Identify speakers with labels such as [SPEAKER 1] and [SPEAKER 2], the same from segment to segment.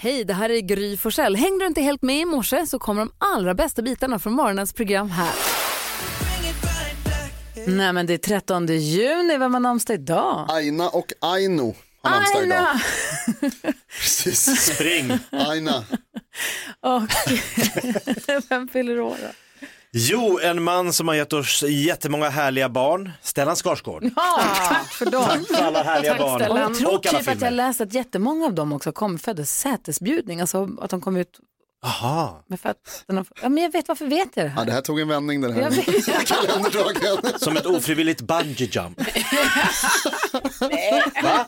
[SPEAKER 1] Hej, det här är Gry Forssell. Hängde du inte helt med i morse så kommer de allra bästa bitarna från morgonens program här. Nej men det är 13 juni, vem har namnsdag idag?
[SPEAKER 2] Aina och Aino har namnsdag idag.
[SPEAKER 1] Aina!
[SPEAKER 2] Precis.
[SPEAKER 3] Spring.
[SPEAKER 2] Aina.
[SPEAKER 1] Och vem fyller år då?
[SPEAKER 3] Jo, en man som har gett oss jättemånga härliga barn. Stellan Skarsgård.
[SPEAKER 1] Ja, Ah, tack för dem.
[SPEAKER 3] För alla härliga barn.
[SPEAKER 1] Och jag tror
[SPEAKER 3] Och
[SPEAKER 1] typ
[SPEAKER 3] alla
[SPEAKER 1] att jag
[SPEAKER 3] filmer.
[SPEAKER 1] läste att jättemånga av dem också kom födde sätesbjudning, alltså att de kom ut
[SPEAKER 3] Aha.
[SPEAKER 1] med fötterna. Ja, men jag vet, varför vet jag det
[SPEAKER 2] Ja,
[SPEAKER 1] här?
[SPEAKER 2] det här tog en vändning den
[SPEAKER 1] Jag
[SPEAKER 2] här
[SPEAKER 1] vet.
[SPEAKER 2] kalenderdagen.
[SPEAKER 3] Som ett ofrivilligt bungee jump. Va?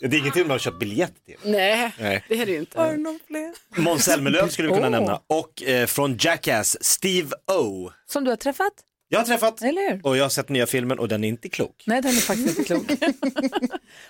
[SPEAKER 3] Det är ingenting de har köpt biljett till.
[SPEAKER 4] Nej,
[SPEAKER 3] Nej.
[SPEAKER 4] det är det ju inte.
[SPEAKER 3] Måns Zelmerlöw skulle vi kunna
[SPEAKER 1] Åh.
[SPEAKER 3] nämna. Och eh, från Jackass, Steve O.
[SPEAKER 1] Som du har träffat,
[SPEAKER 3] Jag har träffat
[SPEAKER 1] eller hur?
[SPEAKER 3] och jag har sett nya filmen och den är inte klok.
[SPEAKER 1] Nej, den är faktiskt inte klok.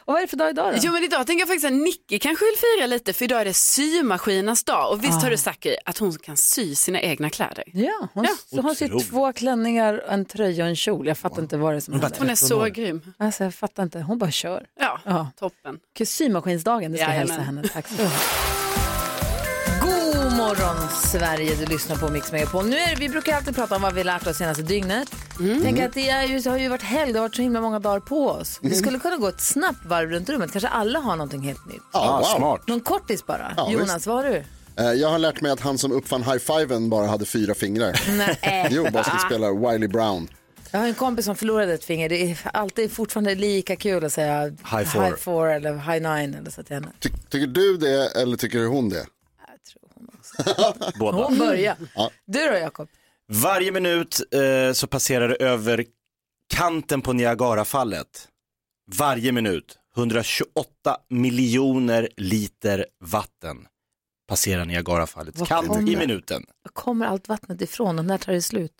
[SPEAKER 1] och vad är det för dag idag då?
[SPEAKER 4] Jo men idag tänker jag faktiskt att Nicky kanske vill fira lite för idag är det symaskinernas dag och visst har du sagt Gry, att hon kan sy sina egna kläder.
[SPEAKER 1] Ja, hon, så hon syr
[SPEAKER 3] Otroligt.
[SPEAKER 1] två klänningar, en tröja och en kjol. Jag fattar inte vad det är som
[SPEAKER 3] Hon bara
[SPEAKER 1] händer.
[SPEAKER 4] Hon är så grym.
[SPEAKER 1] Alltså, jag fattar inte. Hon bara kör.
[SPEAKER 4] Ja,
[SPEAKER 1] Ja.
[SPEAKER 4] toppen.
[SPEAKER 1] Symaskinsdagen, det ska jag hälsa
[SPEAKER 4] Jajamän.
[SPEAKER 1] henne. Tack så mycket. God morgon Sverige, du lyssnar på Mix Megapol. Nu är det, vi brukar ju alltid prata om vad vi lärt oss senaste dygnet. Tänk att det är ju, det har ju varit helg, det har varit så himla många dagar på oss. Vi skulle kunna gå ett snabbt varv runt rummet, kanske alla har någonting helt nytt.
[SPEAKER 3] Ah,
[SPEAKER 2] Ja, wow.
[SPEAKER 1] Någon kortis bara.
[SPEAKER 2] Ja,
[SPEAKER 1] Jonas,
[SPEAKER 2] visst.
[SPEAKER 1] vad har du?
[SPEAKER 2] Eh, Jag har lärt mig att han som uppfann high-fiven bara hade fyra fingrar.
[SPEAKER 1] Nej.
[SPEAKER 2] Jo, basketspelare Wiley Brown.
[SPEAKER 1] Jag har en kompis som förlorade ett finger. Det är alltid fortfarande lika kul att säga high
[SPEAKER 3] four.
[SPEAKER 1] four eller high nine eller så till henne.
[SPEAKER 2] Ty tycker du det eller tycker hon det?
[SPEAKER 3] Båda.
[SPEAKER 1] Hon börjar. Du då Jakob?
[SPEAKER 3] Varje minut eh, så passerar det över kanten på Niagarafallet. Varje minut, 128 miljoner liter vatten passerar Niagarafallets
[SPEAKER 1] Vad
[SPEAKER 3] kant
[SPEAKER 1] kommer?
[SPEAKER 3] i minuten.
[SPEAKER 1] Var kommer allt vattnet ifrån och när tar det slut?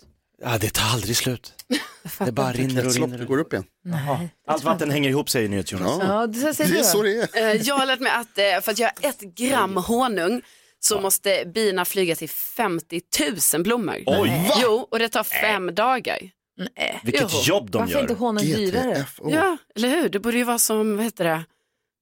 [SPEAKER 3] Ja, det tar aldrig slut.
[SPEAKER 1] Jag fattar
[SPEAKER 3] Det bara
[SPEAKER 1] inte.
[SPEAKER 3] rinner och
[SPEAKER 2] Kretslopp,
[SPEAKER 3] rinner.
[SPEAKER 2] det
[SPEAKER 3] och-
[SPEAKER 2] går upp igen.
[SPEAKER 1] Nej.
[SPEAKER 3] Allt vatten hänger ihop säger NyhetsJonas.
[SPEAKER 2] Ja.
[SPEAKER 1] Ja, det så säger
[SPEAKER 2] Det är så
[SPEAKER 1] du.
[SPEAKER 2] det är.
[SPEAKER 4] Eh, Jag har lärt mig att eh, för att göra ett gram honung så måste bina flyga till 50 000 blommor.
[SPEAKER 3] Oj,
[SPEAKER 2] Va?
[SPEAKER 4] Jo, och det tar fem dagar. Jo.
[SPEAKER 3] vilket jobb de
[SPEAKER 1] Varför inte
[SPEAKER 3] gör.
[SPEAKER 1] honung dyrare?
[SPEAKER 2] GTFO.
[SPEAKER 4] Ja, eller hur? Det borde ju vara som, vad heter det,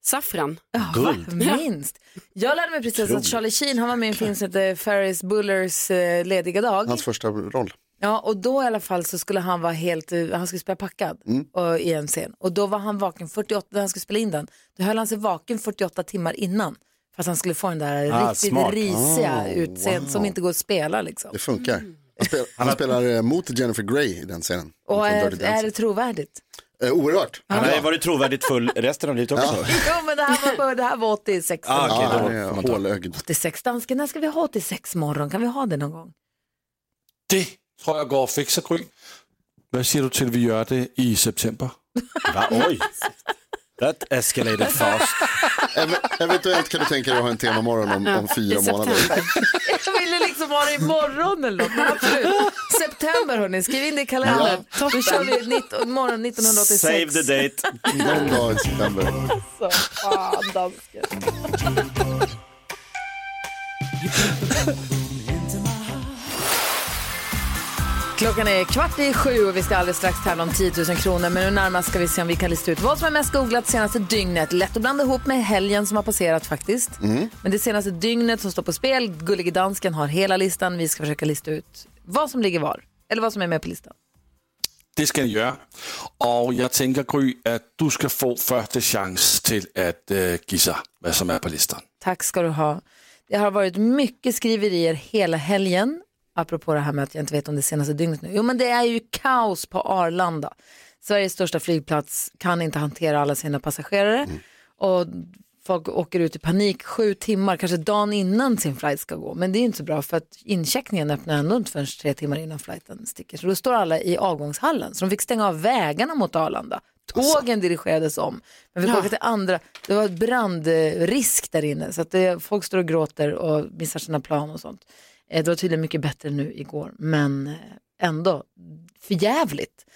[SPEAKER 4] saffran.
[SPEAKER 3] Guld.
[SPEAKER 1] Minst. Jag lärde mig precis att Charlie Sheen, han var med i en film som heter Ferris Bullers eh, lediga dag.
[SPEAKER 2] Hans första roll.
[SPEAKER 1] Ja, och då i alla fall så skulle han vara helt, eh, han skulle spela packad
[SPEAKER 3] Mm.
[SPEAKER 1] och, i en scen. Och då var han vaken 48, när han skulle spela in den, då höll han sig vaken 48 timmar innan. För att han skulle få den där
[SPEAKER 3] Ah,
[SPEAKER 1] riktigt
[SPEAKER 3] smart.
[SPEAKER 1] risiga utseendet som
[SPEAKER 2] wow.
[SPEAKER 1] inte går att spela liksom.
[SPEAKER 2] Det funkar. Han, spel, han spelar eh, mot Jennifer Grey i den scenen.
[SPEAKER 1] Och
[SPEAKER 2] Från Dirty
[SPEAKER 1] är, är
[SPEAKER 2] Dancing.
[SPEAKER 1] det trovärdigt?
[SPEAKER 2] Eh, Oerhört.
[SPEAKER 3] Han har ju varit trovärdigt full resten av livet också.
[SPEAKER 1] jo, men det här var, det här var 86.
[SPEAKER 3] Ah, okej,
[SPEAKER 2] Ja,
[SPEAKER 3] då
[SPEAKER 2] han
[SPEAKER 3] får man
[SPEAKER 2] är
[SPEAKER 3] ta.
[SPEAKER 2] hålögd.
[SPEAKER 1] 86 dansken, när ska vi ha 86 morgon? Kan vi ha det någon gång?
[SPEAKER 5] Det tror jeg går at fikse, Gry. Hvad siger du til, at vi gør det i september?
[SPEAKER 3] Va? Oj, that escalated fast.
[SPEAKER 2] Ev- Eventuellt kan du tänka dig att ha en temamorgon om, om fyra
[SPEAKER 4] I
[SPEAKER 2] månader.
[SPEAKER 4] september.
[SPEAKER 1] Jag ville liksom ha det imorgon eller något. men absolut. September hörni, skriv in det i kalendern. Då kör vi nitt, morgon 1986.
[SPEAKER 3] Save the date.
[SPEAKER 2] Någon dag i september.
[SPEAKER 1] Fan, dansken. Klockan är kvart i sju och vi ska alldeles strax tävla om 10 000 kronor. Men nu närmast ska vi se om vi kan lista ut vad som är mest googlat senaste dygnet. Lätt att blanda ihop med helgen som har passerat faktiskt. Men det senaste dygnet som står på spel, Gullige Dansken har hela listan. Vi ska försöka lista ut vad som ligger var, eller vad som är med på listan.
[SPEAKER 5] Det skal jeg gøre. Og jeg tænker, Gry, at du skal få første chance til at øh, give sig, hvad som er på listen.
[SPEAKER 1] Tack ska du ha. Det har varit mycket skriverier hela helgen, apropå det här med att jag inte vet om det senaste dygnet nu. Jo, men det är ju kaos på Arlanda. Sveriges största flygplats kan inte hantera alla sina passagerare och folk åker ut i panik sju timmar, kanske dagen innan sin flight ska gå. Men det är ju inte så bra för att incheckningen öppnar ändå inte förrän tre timmar innan flighten sticker. Så då står alla i avgångshallen, så de fick stänga av vägarna mot Arlanda. Tågen dirigerades om, men vi fick åka till andra. Det var brandrisk där inne, så att det, folk står och gråter och missar sina plan och sånt. Eh, Det var tydligen mycket bättre nu igår, men eh, ändå förjävligt.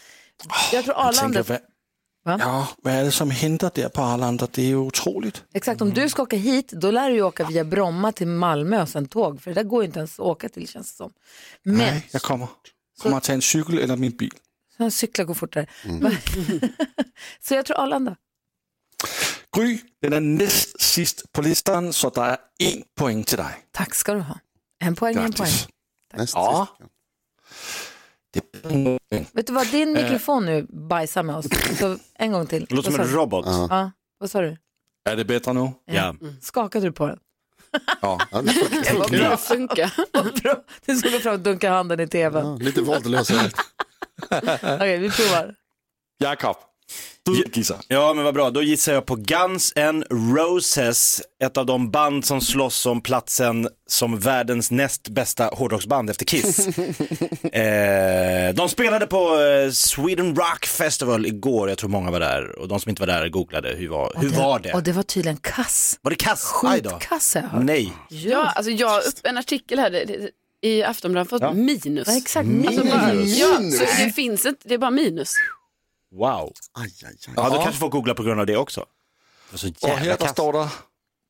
[SPEAKER 1] Jag tror
[SPEAKER 5] Jeg tænker,
[SPEAKER 1] Arlanda...
[SPEAKER 5] hvad,
[SPEAKER 1] Hvad?
[SPEAKER 5] ja, hvad er det, som henter der på Arlanda? Det er jo utroligt.
[SPEAKER 1] Exakt, om du ska åka hit, då lär du ju åka via Bromma till Malmö och sen tåg, för det där går ju inte ens att åka till känns det som. Men,
[SPEAKER 5] Nej, jeg kommer. kommer at tage en cykel eller min bil.
[SPEAKER 3] Mm.
[SPEAKER 1] så cyklar går fortare. så jag tror Arlanda.
[SPEAKER 5] Gry, den er næst sidst på listen, så der er en point til dig.
[SPEAKER 1] Tack ska du ha. En poäng, en poäng.
[SPEAKER 5] Grattis.
[SPEAKER 2] Näst
[SPEAKER 5] Ja.
[SPEAKER 2] sist.
[SPEAKER 5] Det-
[SPEAKER 1] Vet du vad, din mikrofon nu bajsar med oss. Så en gång till.
[SPEAKER 3] Eh. Låter som
[SPEAKER 1] Vad
[SPEAKER 3] en
[SPEAKER 1] sa du?
[SPEAKER 3] robot.
[SPEAKER 2] Ja.
[SPEAKER 1] Ja, vad sa du?
[SPEAKER 5] Er det bedre nu?
[SPEAKER 3] Ja.
[SPEAKER 1] Skakade du på den?
[SPEAKER 5] Ja.
[SPEAKER 2] Ja, det funkar.
[SPEAKER 4] Vad bra funka.
[SPEAKER 1] Bra. Du skulle gå fram och dunka handen i tvn.
[SPEAKER 2] Ja, lite våldlös.
[SPEAKER 1] Okej, vi provar.
[SPEAKER 5] Jakob, du gisser.
[SPEAKER 3] Ja, men vad bra. Då gissar jag på Guns N' Roses, ett av de band som slåss om platsen som världens näst bästa hårdrocksband efter Kiss. eh, de spelade på eh, Sweden Rock Festival igår, jag tror många var där. Och de som inte var där googlade, hur var, hur var det?
[SPEAKER 1] Och det var tydligen kass.
[SPEAKER 3] Var det kass? Aj då.
[SPEAKER 1] Skitkass har jag hört.
[SPEAKER 3] Nej.
[SPEAKER 4] Ja, alltså jag har upp en artikel här det- det- i Aftonbladet fått minus.
[SPEAKER 1] Ja, exakt. Alltså, Minus.
[SPEAKER 4] Alltså,
[SPEAKER 3] Mm.
[SPEAKER 4] Ja, så det finns inte, det är bara minus.
[SPEAKER 3] Wow.
[SPEAKER 2] Aj, aj, aj.
[SPEAKER 3] Ja, du
[SPEAKER 5] Ja.
[SPEAKER 3] kanske får googla på grund av det också. Det var så
[SPEAKER 5] Og her
[SPEAKER 3] jävla
[SPEAKER 5] der
[SPEAKER 3] kass.
[SPEAKER 5] står der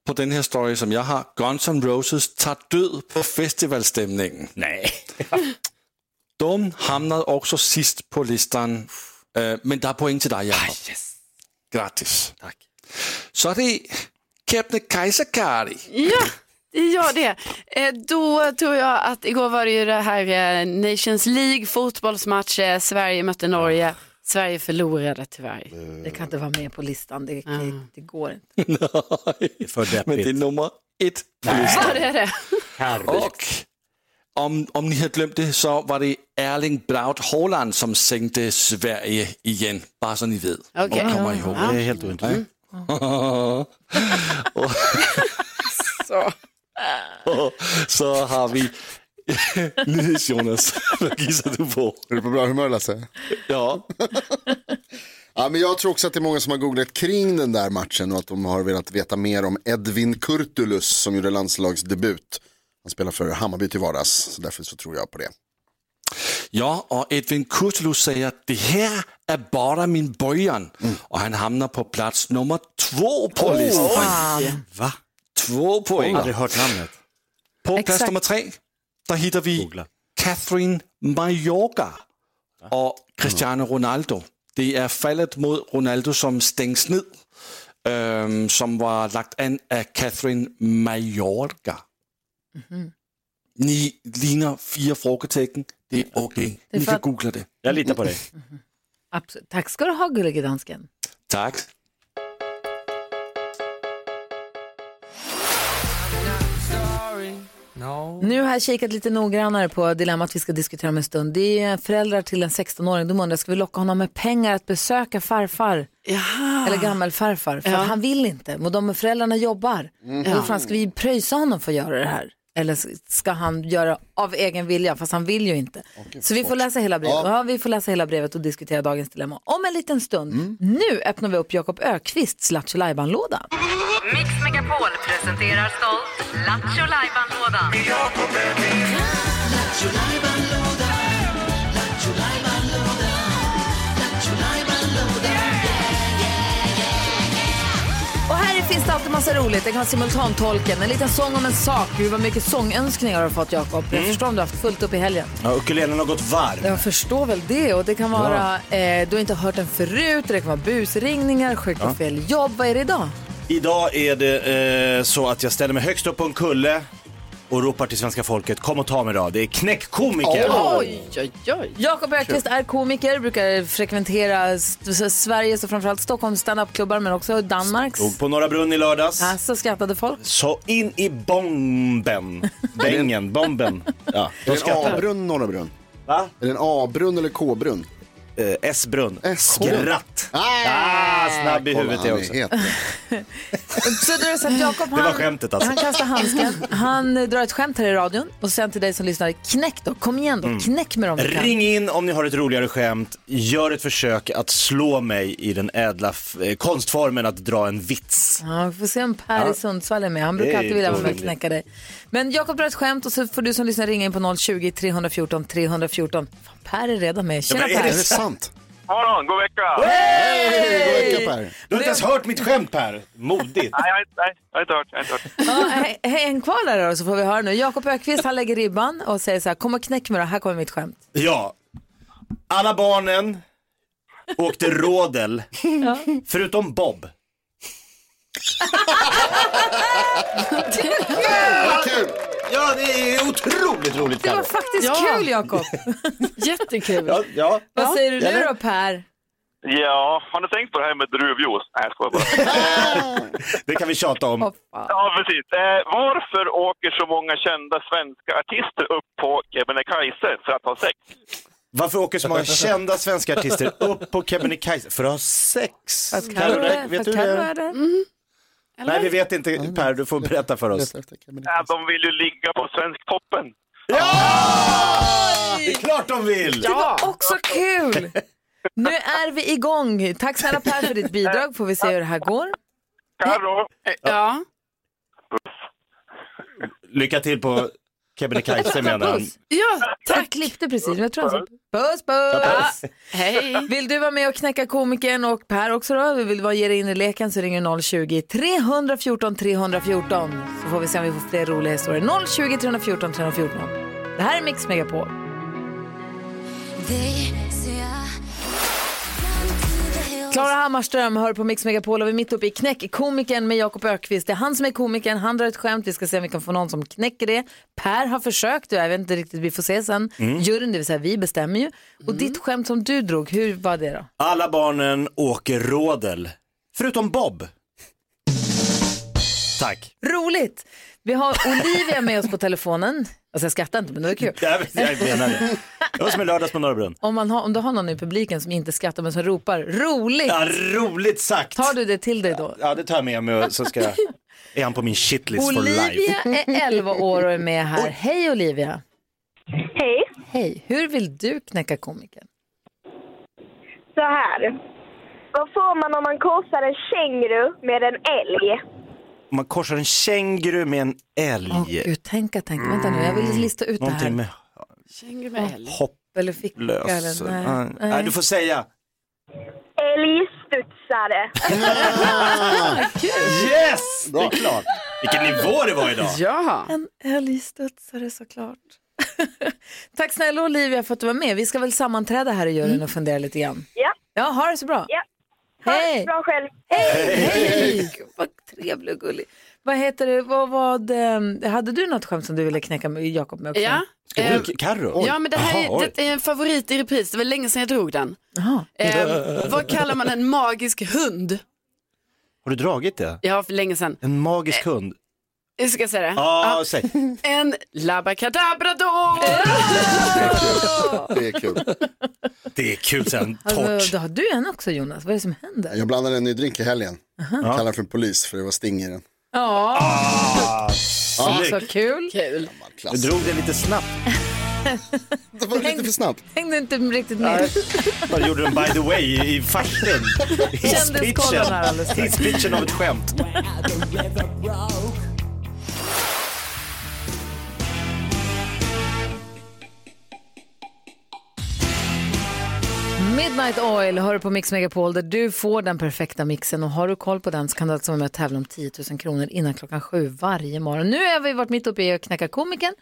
[SPEAKER 5] på den her story, som jeg har, Guns N' Roses tager død på festivalstemningen.
[SPEAKER 3] Nej.
[SPEAKER 5] Dum hamnede også sidst på listen, øh, men der er point til dig, Jacob.
[SPEAKER 3] Ah, yes.
[SPEAKER 5] Gratis.
[SPEAKER 3] Tak.
[SPEAKER 5] Så er det Kebnekaise-Kari.
[SPEAKER 4] Ja, ja det. Eh, Då tror jag att igår var det ju det här eh, Nations League fotbollsmatch. eh, Sverige mötte Norge. Sverige förlorade tyvärr.
[SPEAKER 1] Det kan inte vara med på listan. Det, det, det går inte.
[SPEAKER 3] Det är för
[SPEAKER 5] Men det er
[SPEAKER 3] deppigt.
[SPEAKER 5] nummer et på listen.
[SPEAKER 4] Ja, det är det.
[SPEAKER 5] Och om, om ni har glömt det så var det Erling Braut Haaland som sänkte Sverige igen. Bara så ni vet.
[SPEAKER 4] Okej.
[SPEAKER 5] Och kommer ihåg.
[SPEAKER 3] Det är helt ointressant.
[SPEAKER 4] Så.
[SPEAKER 5] Och så har vi Nyhets Jonas. Vad gissar du på?
[SPEAKER 2] Är du på bra humör Lasse?
[SPEAKER 5] Ja,
[SPEAKER 2] Ja, men jag tror också att det är många som har googlat kring den där matchen och att de har velat veta mer om Edvin Kurtulus som gjorde landslagsdebut. Han spelar för Hammarby till vardags, så därför så tror jag på det.
[SPEAKER 5] ja och Edvin Kurtulus säger att det här är bara min början.
[SPEAKER 4] Mm.
[SPEAKER 5] Och han hamnar på plats nummer två på listan.
[SPEAKER 3] Va?
[SPEAKER 5] Två poäng.
[SPEAKER 3] Aldrig hört namnet.
[SPEAKER 5] På
[SPEAKER 1] Exakt.
[SPEAKER 5] plats nummer tre, där hittar vi
[SPEAKER 3] Googla.
[SPEAKER 5] Catherine Mallorca och Cristiano Ronaldo. Det är fallet mot Ronaldo som stängs ned, ehm, som var lagt an av Catherine Mallorca. Ni ligner fyra frågetecken. Det är okej.
[SPEAKER 1] är
[SPEAKER 5] Ni
[SPEAKER 1] för
[SPEAKER 5] kan
[SPEAKER 1] att-
[SPEAKER 5] googla det.
[SPEAKER 3] Jag litar på dig.
[SPEAKER 1] Absolut. Tack ska du ha, gullige dansken.
[SPEAKER 5] Tack.
[SPEAKER 1] Nu har jag kikat lite noggrannare på dilemmat vi ska diskutera om en stund. Det är föräldrar till en 16-åring. De undrar, ska vi locka honom med pengar att besöka farfar?
[SPEAKER 4] Jaha.
[SPEAKER 1] eller gammelfarfar, för han vill inte. Och de föräldrarna jobbar. Hur fan ska vi pröjsa honom för att göra det här? Eller s- ska han göra av egen vilja, fast han vill ju inte. Så vi får läsa hela brevet. Ja. vi får läsa hela brevet och diskutera dagens dilemma om en liten stund. Nu öppnar vi upp Jakob Ökvists Lattjo låda
[SPEAKER 6] Mix Megapol presenterar stolt Lattjo Lajban-lådan.
[SPEAKER 1] Och här finns det alltid massa roligt. Det kan vara simultantolken, en liten sång om en sak. Gud vad mycket sångönskningar har du fått Jakob. Jag förstår om du har haft fullt upp i helgen.
[SPEAKER 3] Ja, ukulelen har gått varm.
[SPEAKER 1] Mm. Jag förstår väl det. Och det kan vara, eh, du har inte hört den förut, det kan vara busringningar, sjukt på fel jobb. Vad är det idag?
[SPEAKER 3] Idag är det eh, så att jag ställer mig högst upp på en kulle och ropar till svenska folket, kom och ta mig idag. Det är knäckkomiker.
[SPEAKER 4] Oj, oj, oj.
[SPEAKER 1] Jakob Ökvist är komiker, brukar frekventera S- S- Sveriges och framförallt Stockholms standupklubbar men också Danmarks.
[SPEAKER 3] Stod på Norra Brunn i lördags.
[SPEAKER 1] Alltså skrattade folk.
[SPEAKER 3] Så in i bomben. Bängen, bomben. Ja,
[SPEAKER 2] Är
[SPEAKER 3] de
[SPEAKER 2] det en
[SPEAKER 3] skrattar.
[SPEAKER 2] A-brunn, norra brunn?
[SPEAKER 3] Va?
[SPEAKER 2] Är det en A-brunn eller K-brunn?
[SPEAKER 3] Eh, S-brunn.
[SPEAKER 2] S-brunn.
[SPEAKER 3] Skratt.
[SPEAKER 2] Ah,
[SPEAKER 3] Ah, snabb i
[SPEAKER 2] kolla,
[SPEAKER 3] huvudet
[SPEAKER 2] han är
[SPEAKER 3] jag också.
[SPEAKER 2] het.
[SPEAKER 1] Så då är det så att Jakob
[SPEAKER 3] Det var
[SPEAKER 1] han,
[SPEAKER 3] skämtet, alltså.
[SPEAKER 1] han kastar handsken, han eh, drar ett skämt här i radion och sen till dig som lyssnar, knäck då, kom igen då, knäck med dem du kan.
[SPEAKER 3] Ring in om ni har ett roligare skämt. Gör ett försök att slå mig i den ädla f- eh, konstformen att dra en vits.
[SPEAKER 1] Ja, vi får se om Per i Sundsvall är med. Han
[SPEAKER 3] Det
[SPEAKER 1] brukar
[SPEAKER 3] är
[SPEAKER 1] alltid vilja
[SPEAKER 3] inte
[SPEAKER 1] vara med och
[SPEAKER 3] orimligt.
[SPEAKER 1] knäcka dig. Men Jakob drar ett skämt och så får du som lyssnar ringa in på 020-314 314. Fan, per är redan med. Tjena
[SPEAKER 3] men är
[SPEAKER 1] Per!
[SPEAKER 2] Är det sant?
[SPEAKER 7] morgon, god vecka!
[SPEAKER 2] Hej! God vecka Per.
[SPEAKER 3] Du har inte ens hört mitt skämt Per. Modigt.
[SPEAKER 7] Nej, jag har inte- nej, jag har inte hört. Jag har inte hört.
[SPEAKER 1] Ja, he- he- en kvar där då så får vi höra nu. Jakob Ökvist han lägger ribban och säger så här, kom och knäck mig då, här kommer mitt skämt.
[SPEAKER 3] Ja. Alla barnen åkte rådel. Förutom Bob.
[SPEAKER 2] Vad kul!
[SPEAKER 8] Ja, det är otroligt roligt.
[SPEAKER 1] Det var
[SPEAKER 8] Carro.
[SPEAKER 1] faktiskt
[SPEAKER 4] Ja.
[SPEAKER 1] kul Jakob.
[SPEAKER 4] Jättekul.
[SPEAKER 8] Ja, ja.
[SPEAKER 1] Vad säger du nu
[SPEAKER 8] Eller?
[SPEAKER 1] då Per?
[SPEAKER 7] Ja, har ni tänkt på det här med druvjuice? Nej, jag skojar bara.
[SPEAKER 3] Det kan vi tjata om.
[SPEAKER 1] Åh, fan.
[SPEAKER 7] Ja, precis. Eh, varför åker så många kända svenska artister upp på Kebnekaise för att ha sex?
[SPEAKER 3] Varför åker så många kända svenska artister upp på Kebnekaise för att ha sex?
[SPEAKER 1] Fast Carro
[SPEAKER 3] Carro,
[SPEAKER 1] är-
[SPEAKER 3] vet
[SPEAKER 1] fast
[SPEAKER 3] du
[SPEAKER 1] Carro
[SPEAKER 3] det?
[SPEAKER 1] är där.
[SPEAKER 3] Nej, vi vet inte. Per, du får berätta för oss.
[SPEAKER 7] Eh, de vill ju ligga på Svensktoppen.
[SPEAKER 3] Det är klart de vill!
[SPEAKER 1] Det var också kul. Nu är vi igång. Tack snälla Per för ditt bidrag. Får vi se hur det här går.
[SPEAKER 7] Carro,
[SPEAKER 4] Ja.
[SPEAKER 3] Lycka till på Kebnekaise menar han.
[SPEAKER 4] ja,
[SPEAKER 1] Jag
[SPEAKER 4] tack.
[SPEAKER 1] klippte precis. men Jag tror han sa puss, puss.
[SPEAKER 4] Hej.
[SPEAKER 1] Vill du vara med och knäcka komikern och Per också då? Vill du vara ge dig in i leken så ringer 020-314 314. Så får vi se om vi får fler roliga historier. 020-314 314. Det här är Mix Megapol. Klara Hammarström hör på Mix Megapol och vi är mitt uppe i Knäck komikern med Jakob Ökvist. Det är han som är komikern, han drar ett skämt, vi ska se om vi kan få någon som knäcker det. Per har försökt, jag vet inte riktigt, vi får se sen. Juryn, det vill säga vi bestämmer ju. Och ditt skämt som du drog, hur var det då?
[SPEAKER 3] Alla barnen åker rådel. Förutom Bob. Tack.
[SPEAKER 1] Roligt! Vi har Olivia med oss på telefonen. Alltså jag skrattar inte men det var kul.
[SPEAKER 3] Jag, jag menar det. Det var som i lördags på Norra Brunn.
[SPEAKER 1] Om, man har, om du har någon i publiken som inte skrattar men som ropar roligt,
[SPEAKER 3] Ja, roligt sagt.
[SPEAKER 1] tar du det till dig då?
[SPEAKER 3] Ja, det tar jag med mig och så ska jag... Är han på min shitlist for life?
[SPEAKER 1] Olivia är 11 år och är med här. Hej Olivia!
[SPEAKER 9] Hej.
[SPEAKER 1] Hej! Hur vill du knäcka komikern?
[SPEAKER 9] Så här. Vad får man om man korsar en känguru med en älg?
[SPEAKER 3] Om man korsar en känguru med en älg.
[SPEAKER 1] Åh gud, tänka, tänka. Vänta nu, jag vill lista ut det här.
[SPEAKER 3] Mm. Någonting med
[SPEAKER 4] Känguru med älg.
[SPEAKER 3] hopplös.
[SPEAKER 1] Eller ficka eller
[SPEAKER 3] Nej,
[SPEAKER 1] nej.
[SPEAKER 3] Nej, du får säga.
[SPEAKER 9] Älgstudsare.
[SPEAKER 3] Yes! Det är klart. Vilken nivå det var idag.
[SPEAKER 4] Ja.
[SPEAKER 1] En älgstudsare såklart. Tack snälla Olivia för att du var med. Vi ska väl sammanträda här i juryn
[SPEAKER 3] Mm.
[SPEAKER 1] och fundera lite grann.
[SPEAKER 9] Ja.
[SPEAKER 1] Ja, ha det så bra.
[SPEAKER 9] Ja. Ha det
[SPEAKER 1] Hej!
[SPEAKER 9] Bra själv.
[SPEAKER 1] Hej! Gud, Vad trevlig och gullig. Vad heter det, vad var det, hade du något skämt som du ville knäcka med Jakob med också?
[SPEAKER 4] Ja. Eh,
[SPEAKER 3] Carro?
[SPEAKER 4] Ja men det här
[SPEAKER 3] Jaha,
[SPEAKER 4] är,
[SPEAKER 3] oj.
[SPEAKER 4] det är en favorit i repris, det var länge sedan jag drog den.
[SPEAKER 1] Jaha.
[SPEAKER 4] Eh, vad kallar man en magisk hund?
[SPEAKER 3] Har du dragit det?
[SPEAKER 4] Ja, för länge sedan.
[SPEAKER 3] En magisk hund?
[SPEAKER 4] Hur ska jag säga det?
[SPEAKER 3] Ja, säg.
[SPEAKER 4] En labrakadabrador!
[SPEAKER 2] Det är kul.
[SPEAKER 3] Det är kul sen.
[SPEAKER 1] Alltså,
[SPEAKER 3] Torrt.
[SPEAKER 1] då har du en också Jonas, vad är det som händer?
[SPEAKER 2] Jag blandade en ny drink i helgen. Jag kallar för polis för det var sting i den.
[SPEAKER 1] Ja, så
[SPEAKER 3] Ah, Snyggt.
[SPEAKER 1] kul.
[SPEAKER 4] Kul.
[SPEAKER 2] Klass.
[SPEAKER 3] Du drog det lite snabbt.
[SPEAKER 2] Det var lite för snabbt.
[SPEAKER 1] Hängde inte riktigt med.
[SPEAKER 3] Bara gjorde en by the way i farstun.
[SPEAKER 1] Kändiskollen här alldeles strax.
[SPEAKER 3] Hisspitchen av ett skämt.
[SPEAKER 1] Midnight Oil hör du på Mix Megapol där du får den perfekta mixen och har du koll på den så kan du alltså vara med och tävla om 10 000 kronor innan klockan sju varje morgon. Nu har vi varit mitt uppe i att knäcka komikern.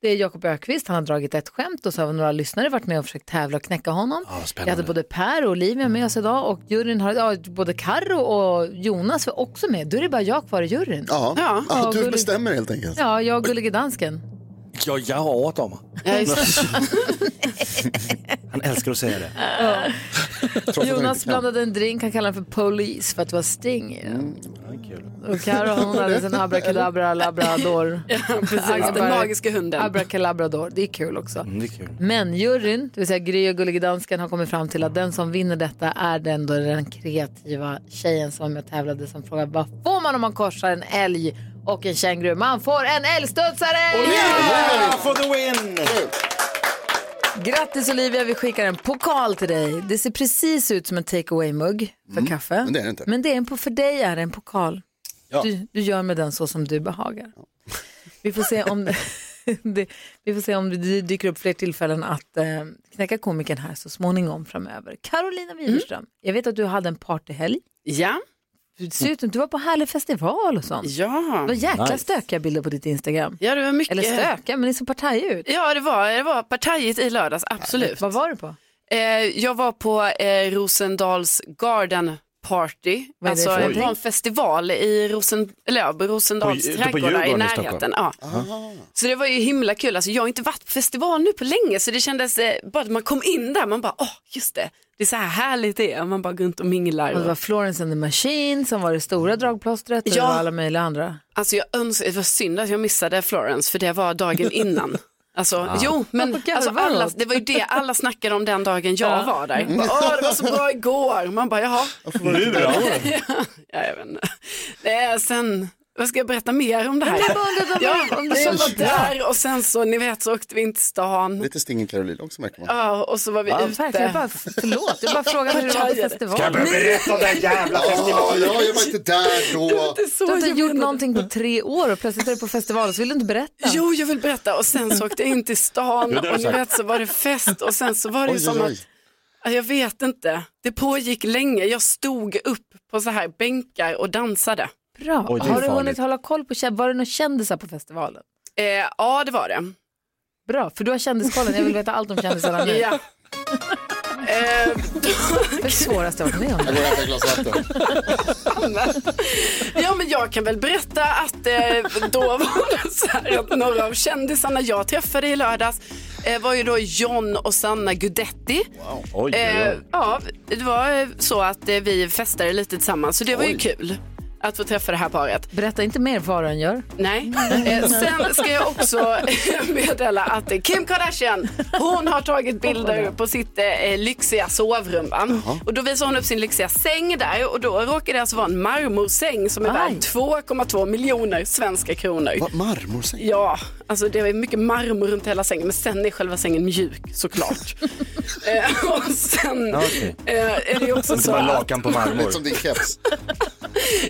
[SPEAKER 1] Det är Jakob Ökvist, han har dragit ett skämt och så har några lyssnare varit med och försökt tävla och knäcka honom. Jag hade både Per och Olivia med oss idag och juryn har, ja, både Karo och Jonas var också med. Då är det bara jag kvar i juryn.
[SPEAKER 2] Ja,
[SPEAKER 4] Ja.
[SPEAKER 2] Ja,
[SPEAKER 1] Ja,
[SPEAKER 2] du
[SPEAKER 1] gulligt.
[SPEAKER 2] bestämmer helt enkelt.
[SPEAKER 1] Ja, jag och Gullige Dansken.
[SPEAKER 5] Ja, jag har overdommer.
[SPEAKER 4] Ja, just det.
[SPEAKER 3] Han älskar att säga det.
[SPEAKER 2] Trots att jag
[SPEAKER 1] Jonas
[SPEAKER 2] inte kan.
[SPEAKER 1] blandade en drink, han kallade den för Police för att det var sting i
[SPEAKER 2] Mm.
[SPEAKER 1] den. Och Carro hon hade sin abrakadabra labrador.
[SPEAKER 4] Precis, Alltså, den magiska hunden.
[SPEAKER 1] Abrakadabrador, det är kul också.
[SPEAKER 3] Mm, Det är kul.
[SPEAKER 1] Men juryn, det vill säga Gry och Gullige Dansken har kommit fram till att den som vinner detta är den, då den kreativa tjejen som var med och tävlade som frågade vad får man om man korsar en älg och en känguru? Man får en älgstudsare!
[SPEAKER 3] Yeah! For the win!
[SPEAKER 1] Grattis Olivia, vi skickar en pokal till dig. Det ser precis ut som en takeaway mugg för kaffe.
[SPEAKER 2] Mm. men det är det inte.
[SPEAKER 1] Men det är en, po- för dig är det en pokal. Du, du gör med den så som du behagar. Vi får se om det, det, vi får se om det dyker upp fler tillfällen att eh, knäcka komikern här så småningom framöver. Carolina
[SPEAKER 2] Mm.
[SPEAKER 1] Widerström, jag vet att du hade en partyhelg.
[SPEAKER 4] Ja,
[SPEAKER 1] Du ser ut som du var på härlig festival och sånt.
[SPEAKER 4] ja.
[SPEAKER 1] Det var jäkla stökiga bilder på ditt Instagram.
[SPEAKER 4] Ja, det var mycket.
[SPEAKER 1] Eller stökiga, men det såg partaj ut.
[SPEAKER 4] Ja, det var, det var partajigt i lördags, absolut.
[SPEAKER 1] Vad var du på?
[SPEAKER 4] Eh, jag var på eh, Rosendals Garden party,
[SPEAKER 1] Vad är det
[SPEAKER 4] alltså
[SPEAKER 1] för
[SPEAKER 4] det
[SPEAKER 1] någonting?
[SPEAKER 4] var en festival i Rosen, eller, ja, på Rosendals
[SPEAKER 3] På- ute på
[SPEAKER 4] trädgård där i
[SPEAKER 3] Djurgården i Stockholm.
[SPEAKER 4] närheten. Ja. Så det var ju himla kul, alltså, jag har inte varit på festival nu på länge så det kändes, eh, bara att man kom in där, man bara, åh just det, det är så här härligt det är, man bara går runt och minglar.
[SPEAKER 1] Och det var Florence and the Machine som var det stora dragplåstret och det
[SPEAKER 4] Mm. Ja.
[SPEAKER 1] var alla möjliga andra.
[SPEAKER 4] Alltså jag önskar, det var synd att jag missade Florence för det var dagen innan. Alltså, jo, men
[SPEAKER 1] Varför
[SPEAKER 4] alltså,
[SPEAKER 1] garvar du
[SPEAKER 4] alla,
[SPEAKER 1] åt?
[SPEAKER 4] det var ju det alla snackade om den dagen jag
[SPEAKER 1] Ja.
[SPEAKER 4] var där. Bara, Åh, det var så bra igår. Man bara, jaha.
[SPEAKER 3] Nu då?
[SPEAKER 4] Ja, jag vet inte. Nej, sen, vad ska jag berätta mer om det här?
[SPEAKER 1] Jag bara undrade om
[SPEAKER 4] Ja,
[SPEAKER 1] det- om
[SPEAKER 4] som
[SPEAKER 1] det-
[SPEAKER 4] var där och sen så, ni vet, så åkte vi in till stan.
[SPEAKER 2] Lite Stingin Caroline också märker man.
[SPEAKER 4] Ja, och så var vi
[SPEAKER 1] Verkligen, jag
[SPEAKER 4] ute.
[SPEAKER 1] bara, förlåt, jag bara frågade hur det var på
[SPEAKER 3] Jag
[SPEAKER 1] festivalen.
[SPEAKER 3] behöver berätta om den jävla
[SPEAKER 1] Eh,
[SPEAKER 2] Ja,
[SPEAKER 3] festivalen.
[SPEAKER 2] jag var inte där då.
[SPEAKER 4] Så
[SPEAKER 1] Du har inte
[SPEAKER 4] jag
[SPEAKER 1] gjort
[SPEAKER 4] menade-
[SPEAKER 1] någonting på tre år och plötsligt är du på festival och så vill du inte berätta.
[SPEAKER 4] Jo, jag vill berätta. Och sen så åkte jag in till stan
[SPEAKER 3] Jo, det har
[SPEAKER 4] och
[SPEAKER 3] du
[SPEAKER 4] ni
[SPEAKER 3] sagt.
[SPEAKER 4] vet så var det fest och sen så var det ju
[SPEAKER 2] Oj, oj,
[SPEAKER 4] som att
[SPEAKER 2] oj.
[SPEAKER 4] Ja, Jag vet inte. Det pågick länge. Jag stod upp på så här bänkar och dansade.
[SPEAKER 1] Bra.
[SPEAKER 3] Oj, det är
[SPEAKER 1] har du
[SPEAKER 3] farligt.
[SPEAKER 1] hunnit hålla koll på, kä- var det några kändisar på festivalen?
[SPEAKER 4] Eh, ja, det var det.
[SPEAKER 1] Bra, för du har kändiskollen, jag vill veta allt om kändisarna nu.
[SPEAKER 4] Ja. Eh,
[SPEAKER 1] Det är det svåraste jag har varit med om.
[SPEAKER 2] Jag går och hämtar ett glas vatten.
[SPEAKER 4] ja, men jag kan väl berätta att eh, då var det så här att några av kändisarna jag träffade i lördags eh, var ju då John och Sanna Gudetti.
[SPEAKER 3] Oj,
[SPEAKER 4] Eh,
[SPEAKER 3] oj,
[SPEAKER 4] ja, det var eh, så att eh, vi festade lite tillsammans, så det var ju kul att få träffa det här paret.
[SPEAKER 1] Berätta inte mer vad han gör.
[SPEAKER 4] Nej. Eh, sen ska jag också meddela att eh, Kim Kardashian, hon har tagit bilder på sitt eh, lyxiga sovrum. va? Och då visar hon upp sin lyxiga säng där och då råkar det alltså vara en marmorsäng som är
[SPEAKER 1] Aj.
[SPEAKER 4] värd 2,2 miljoner svenska kronor.
[SPEAKER 2] Va, marmorsäng?
[SPEAKER 4] Ja, alltså det är mycket marmor runt hela sängen men sen är själva sängen mjuk såklart. eh, och sen
[SPEAKER 3] okej.
[SPEAKER 4] eh, är det ju också
[SPEAKER 3] Det
[SPEAKER 4] så
[SPEAKER 3] var
[SPEAKER 4] att
[SPEAKER 3] lakan på
[SPEAKER 2] Lite
[SPEAKER 3] marmor.
[SPEAKER 2] som din keps.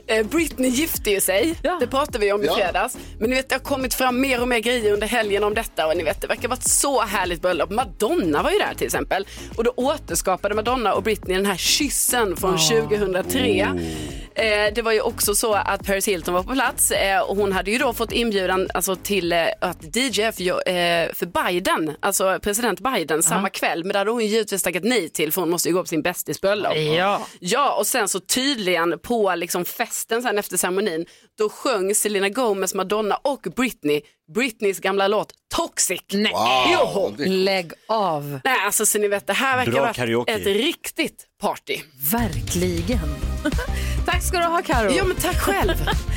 [SPEAKER 4] Eh, Britney gifte ju sig,
[SPEAKER 1] Ja.
[SPEAKER 4] det pratade vi om i
[SPEAKER 2] Ja.
[SPEAKER 4] fredags. Men ni vet, det har kommit fram mer och mer grejer under helgen om detta och ni vet, det verkar vara ett så härligt bröllop. Madonna var ju där till exempel och då återskapade Madonna och Britney den här kyssen
[SPEAKER 1] Ah.
[SPEAKER 4] från 2003. Eh, det var ju också så att Paris Hilton var på plats eh, och hon hade ju då fått inbjudan alltså, till eh, att DJ för, jo- eh, för Biden, alltså president Biden, samma kväll. Men det hade hon ju givetvis tackat nej till för hon måste ju gå på sin bästis bröllop.
[SPEAKER 1] Ja.
[SPEAKER 4] Ja, och sen så tydligen på liksom festen sen efter ceremonin, då sjöng Selena Gomez, Madonna och Britney Britneys gamla låt Toxic. Nej.
[SPEAKER 2] Wow. det är-
[SPEAKER 1] Lägg av,
[SPEAKER 4] Nej, alltså så ni vet, det här verkar
[SPEAKER 3] Bra
[SPEAKER 4] ha varit
[SPEAKER 3] karaoke.
[SPEAKER 4] ett riktigt party.
[SPEAKER 1] verkligen. Tack ska du ha Karo.
[SPEAKER 4] Ja, men tack själv.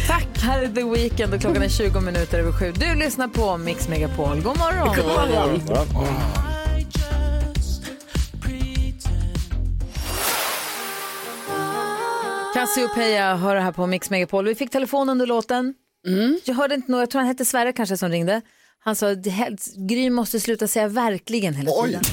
[SPEAKER 4] tack.
[SPEAKER 1] Här är The Weeknd och klockan är 20 minuter över sju. Du lyssnar på Mix Megapol. God morgon.
[SPEAKER 4] God morgon.
[SPEAKER 1] Cassiopeia hör här på Mix Megapol. Vi fick telefon under låten. Jag hörde inte något, jag tror han hette Sverre kanske som ringde. Han sa att Gry måste sluta säga verkligen hela
[SPEAKER 2] Oj.
[SPEAKER 1] tiden.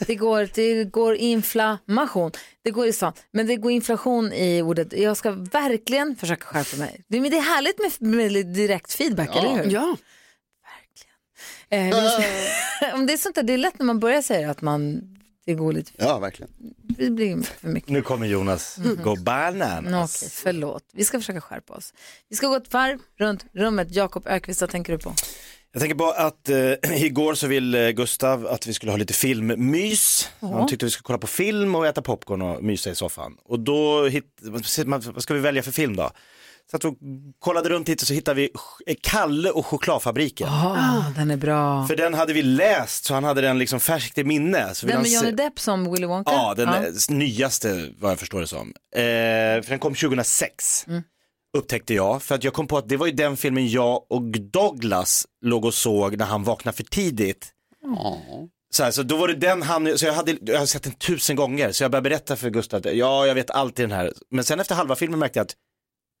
[SPEAKER 1] Det går, det går inflammation. Det går i sånt. Men det går inflation i ordet. Jag ska verkligen försöka skärpa mig. Det, men det är härligt med, med direkt feedback, eller hur?
[SPEAKER 4] Ja.
[SPEAKER 1] Eh, vi- om det är sånt där, det är lätt när man börjar säga att man, det går lite,
[SPEAKER 2] Ja, verkligen.
[SPEAKER 1] det blir för mycket.
[SPEAKER 3] Nu kommer Jonas. Go
[SPEAKER 1] Mm. Nå,
[SPEAKER 3] bananas.
[SPEAKER 1] Okej, förlåt. Vi ska försöka skärpa oss. Vi ska gå ett varv runt rummet. Jakob Ökvist, vad tänker du på?
[SPEAKER 3] Jag tänker på att eh, igår så ville eh, Gustav att vi skulle ha lite filmmys. Han tyckte vi skulle kolla på film och äta popcorn och mysa i soffan. Och då, hit, vad ska vi välja för film då? Så att vi kollade runt hit och så hittade vi ch- Kalle och chokladfabriken.
[SPEAKER 1] Ah, den är bra.
[SPEAKER 3] För den hade vi läst så han hade den liksom färskt i minne. Så vill
[SPEAKER 1] Den
[SPEAKER 3] han
[SPEAKER 1] med
[SPEAKER 3] se-
[SPEAKER 1] Johnny Depp som Willy Wonka?
[SPEAKER 3] Ja, den eh, nyaste vad jag förstår det som. Eh, för den kom 2006. Upptäckte jag, för att jag kom på att det var ju den filmen jag och Douglas låg och såg när han vaknade för tidigt. Så, här, så då var det den han, så jag hade, jag har sett den tusen gånger, så jag började berätta för Gustav att ja, jag vet allt i den här. Men sen efter halva filmen märkte jag att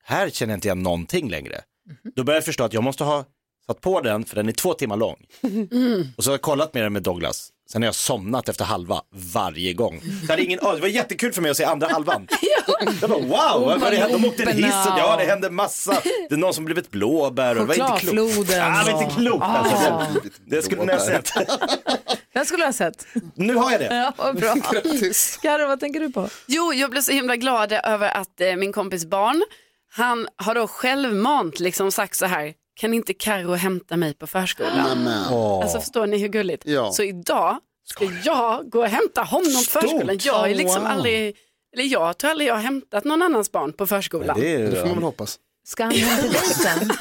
[SPEAKER 3] här känner jag inte igen någonting längre.
[SPEAKER 4] Mhm.
[SPEAKER 3] Då började jag förstå att jag måste ha satt på den, för den är två timmar lång.
[SPEAKER 4] Mm.
[SPEAKER 3] Och så har jag kollat med den med Douglas. Sen har jag somnat efter halva varje gång. Så jag hade ingen, aning. det var jättekul för mig att se andra halvan. Jag bara, wow, vad var det hände? de åkte en hiss och ja, det hände massa. Det är någon som blivit blåbär. Och det var inte klokt.
[SPEAKER 1] Chokladfloden.
[SPEAKER 3] Ja, det var inte klokt alltså.
[SPEAKER 1] Ah.
[SPEAKER 3] Det skulle ni ha sett.
[SPEAKER 1] Den skulle jag ha sett.
[SPEAKER 3] Nu har jag det.
[SPEAKER 1] Ja, vad bra. Karo, vad tänker du på?
[SPEAKER 4] Jo, jag blev så himla glad över att eh, min kompis barn, han har då självmant liksom sagt så här, kan inte Karo hämta mig på förskolan?
[SPEAKER 2] Amen.
[SPEAKER 4] Alltså förstår ni hur gulligt?
[SPEAKER 2] Ja.
[SPEAKER 4] Så idag ska jag gå och hämta honom på förskolan. Jag har ju liksom
[SPEAKER 2] Wow.
[SPEAKER 4] aldrig Eller jag tror aldrig jag har hämtat någon annans barn på förskolan.
[SPEAKER 3] Det är
[SPEAKER 2] Det får man väl hoppas.
[SPEAKER 1] Ska han hem till dig sen?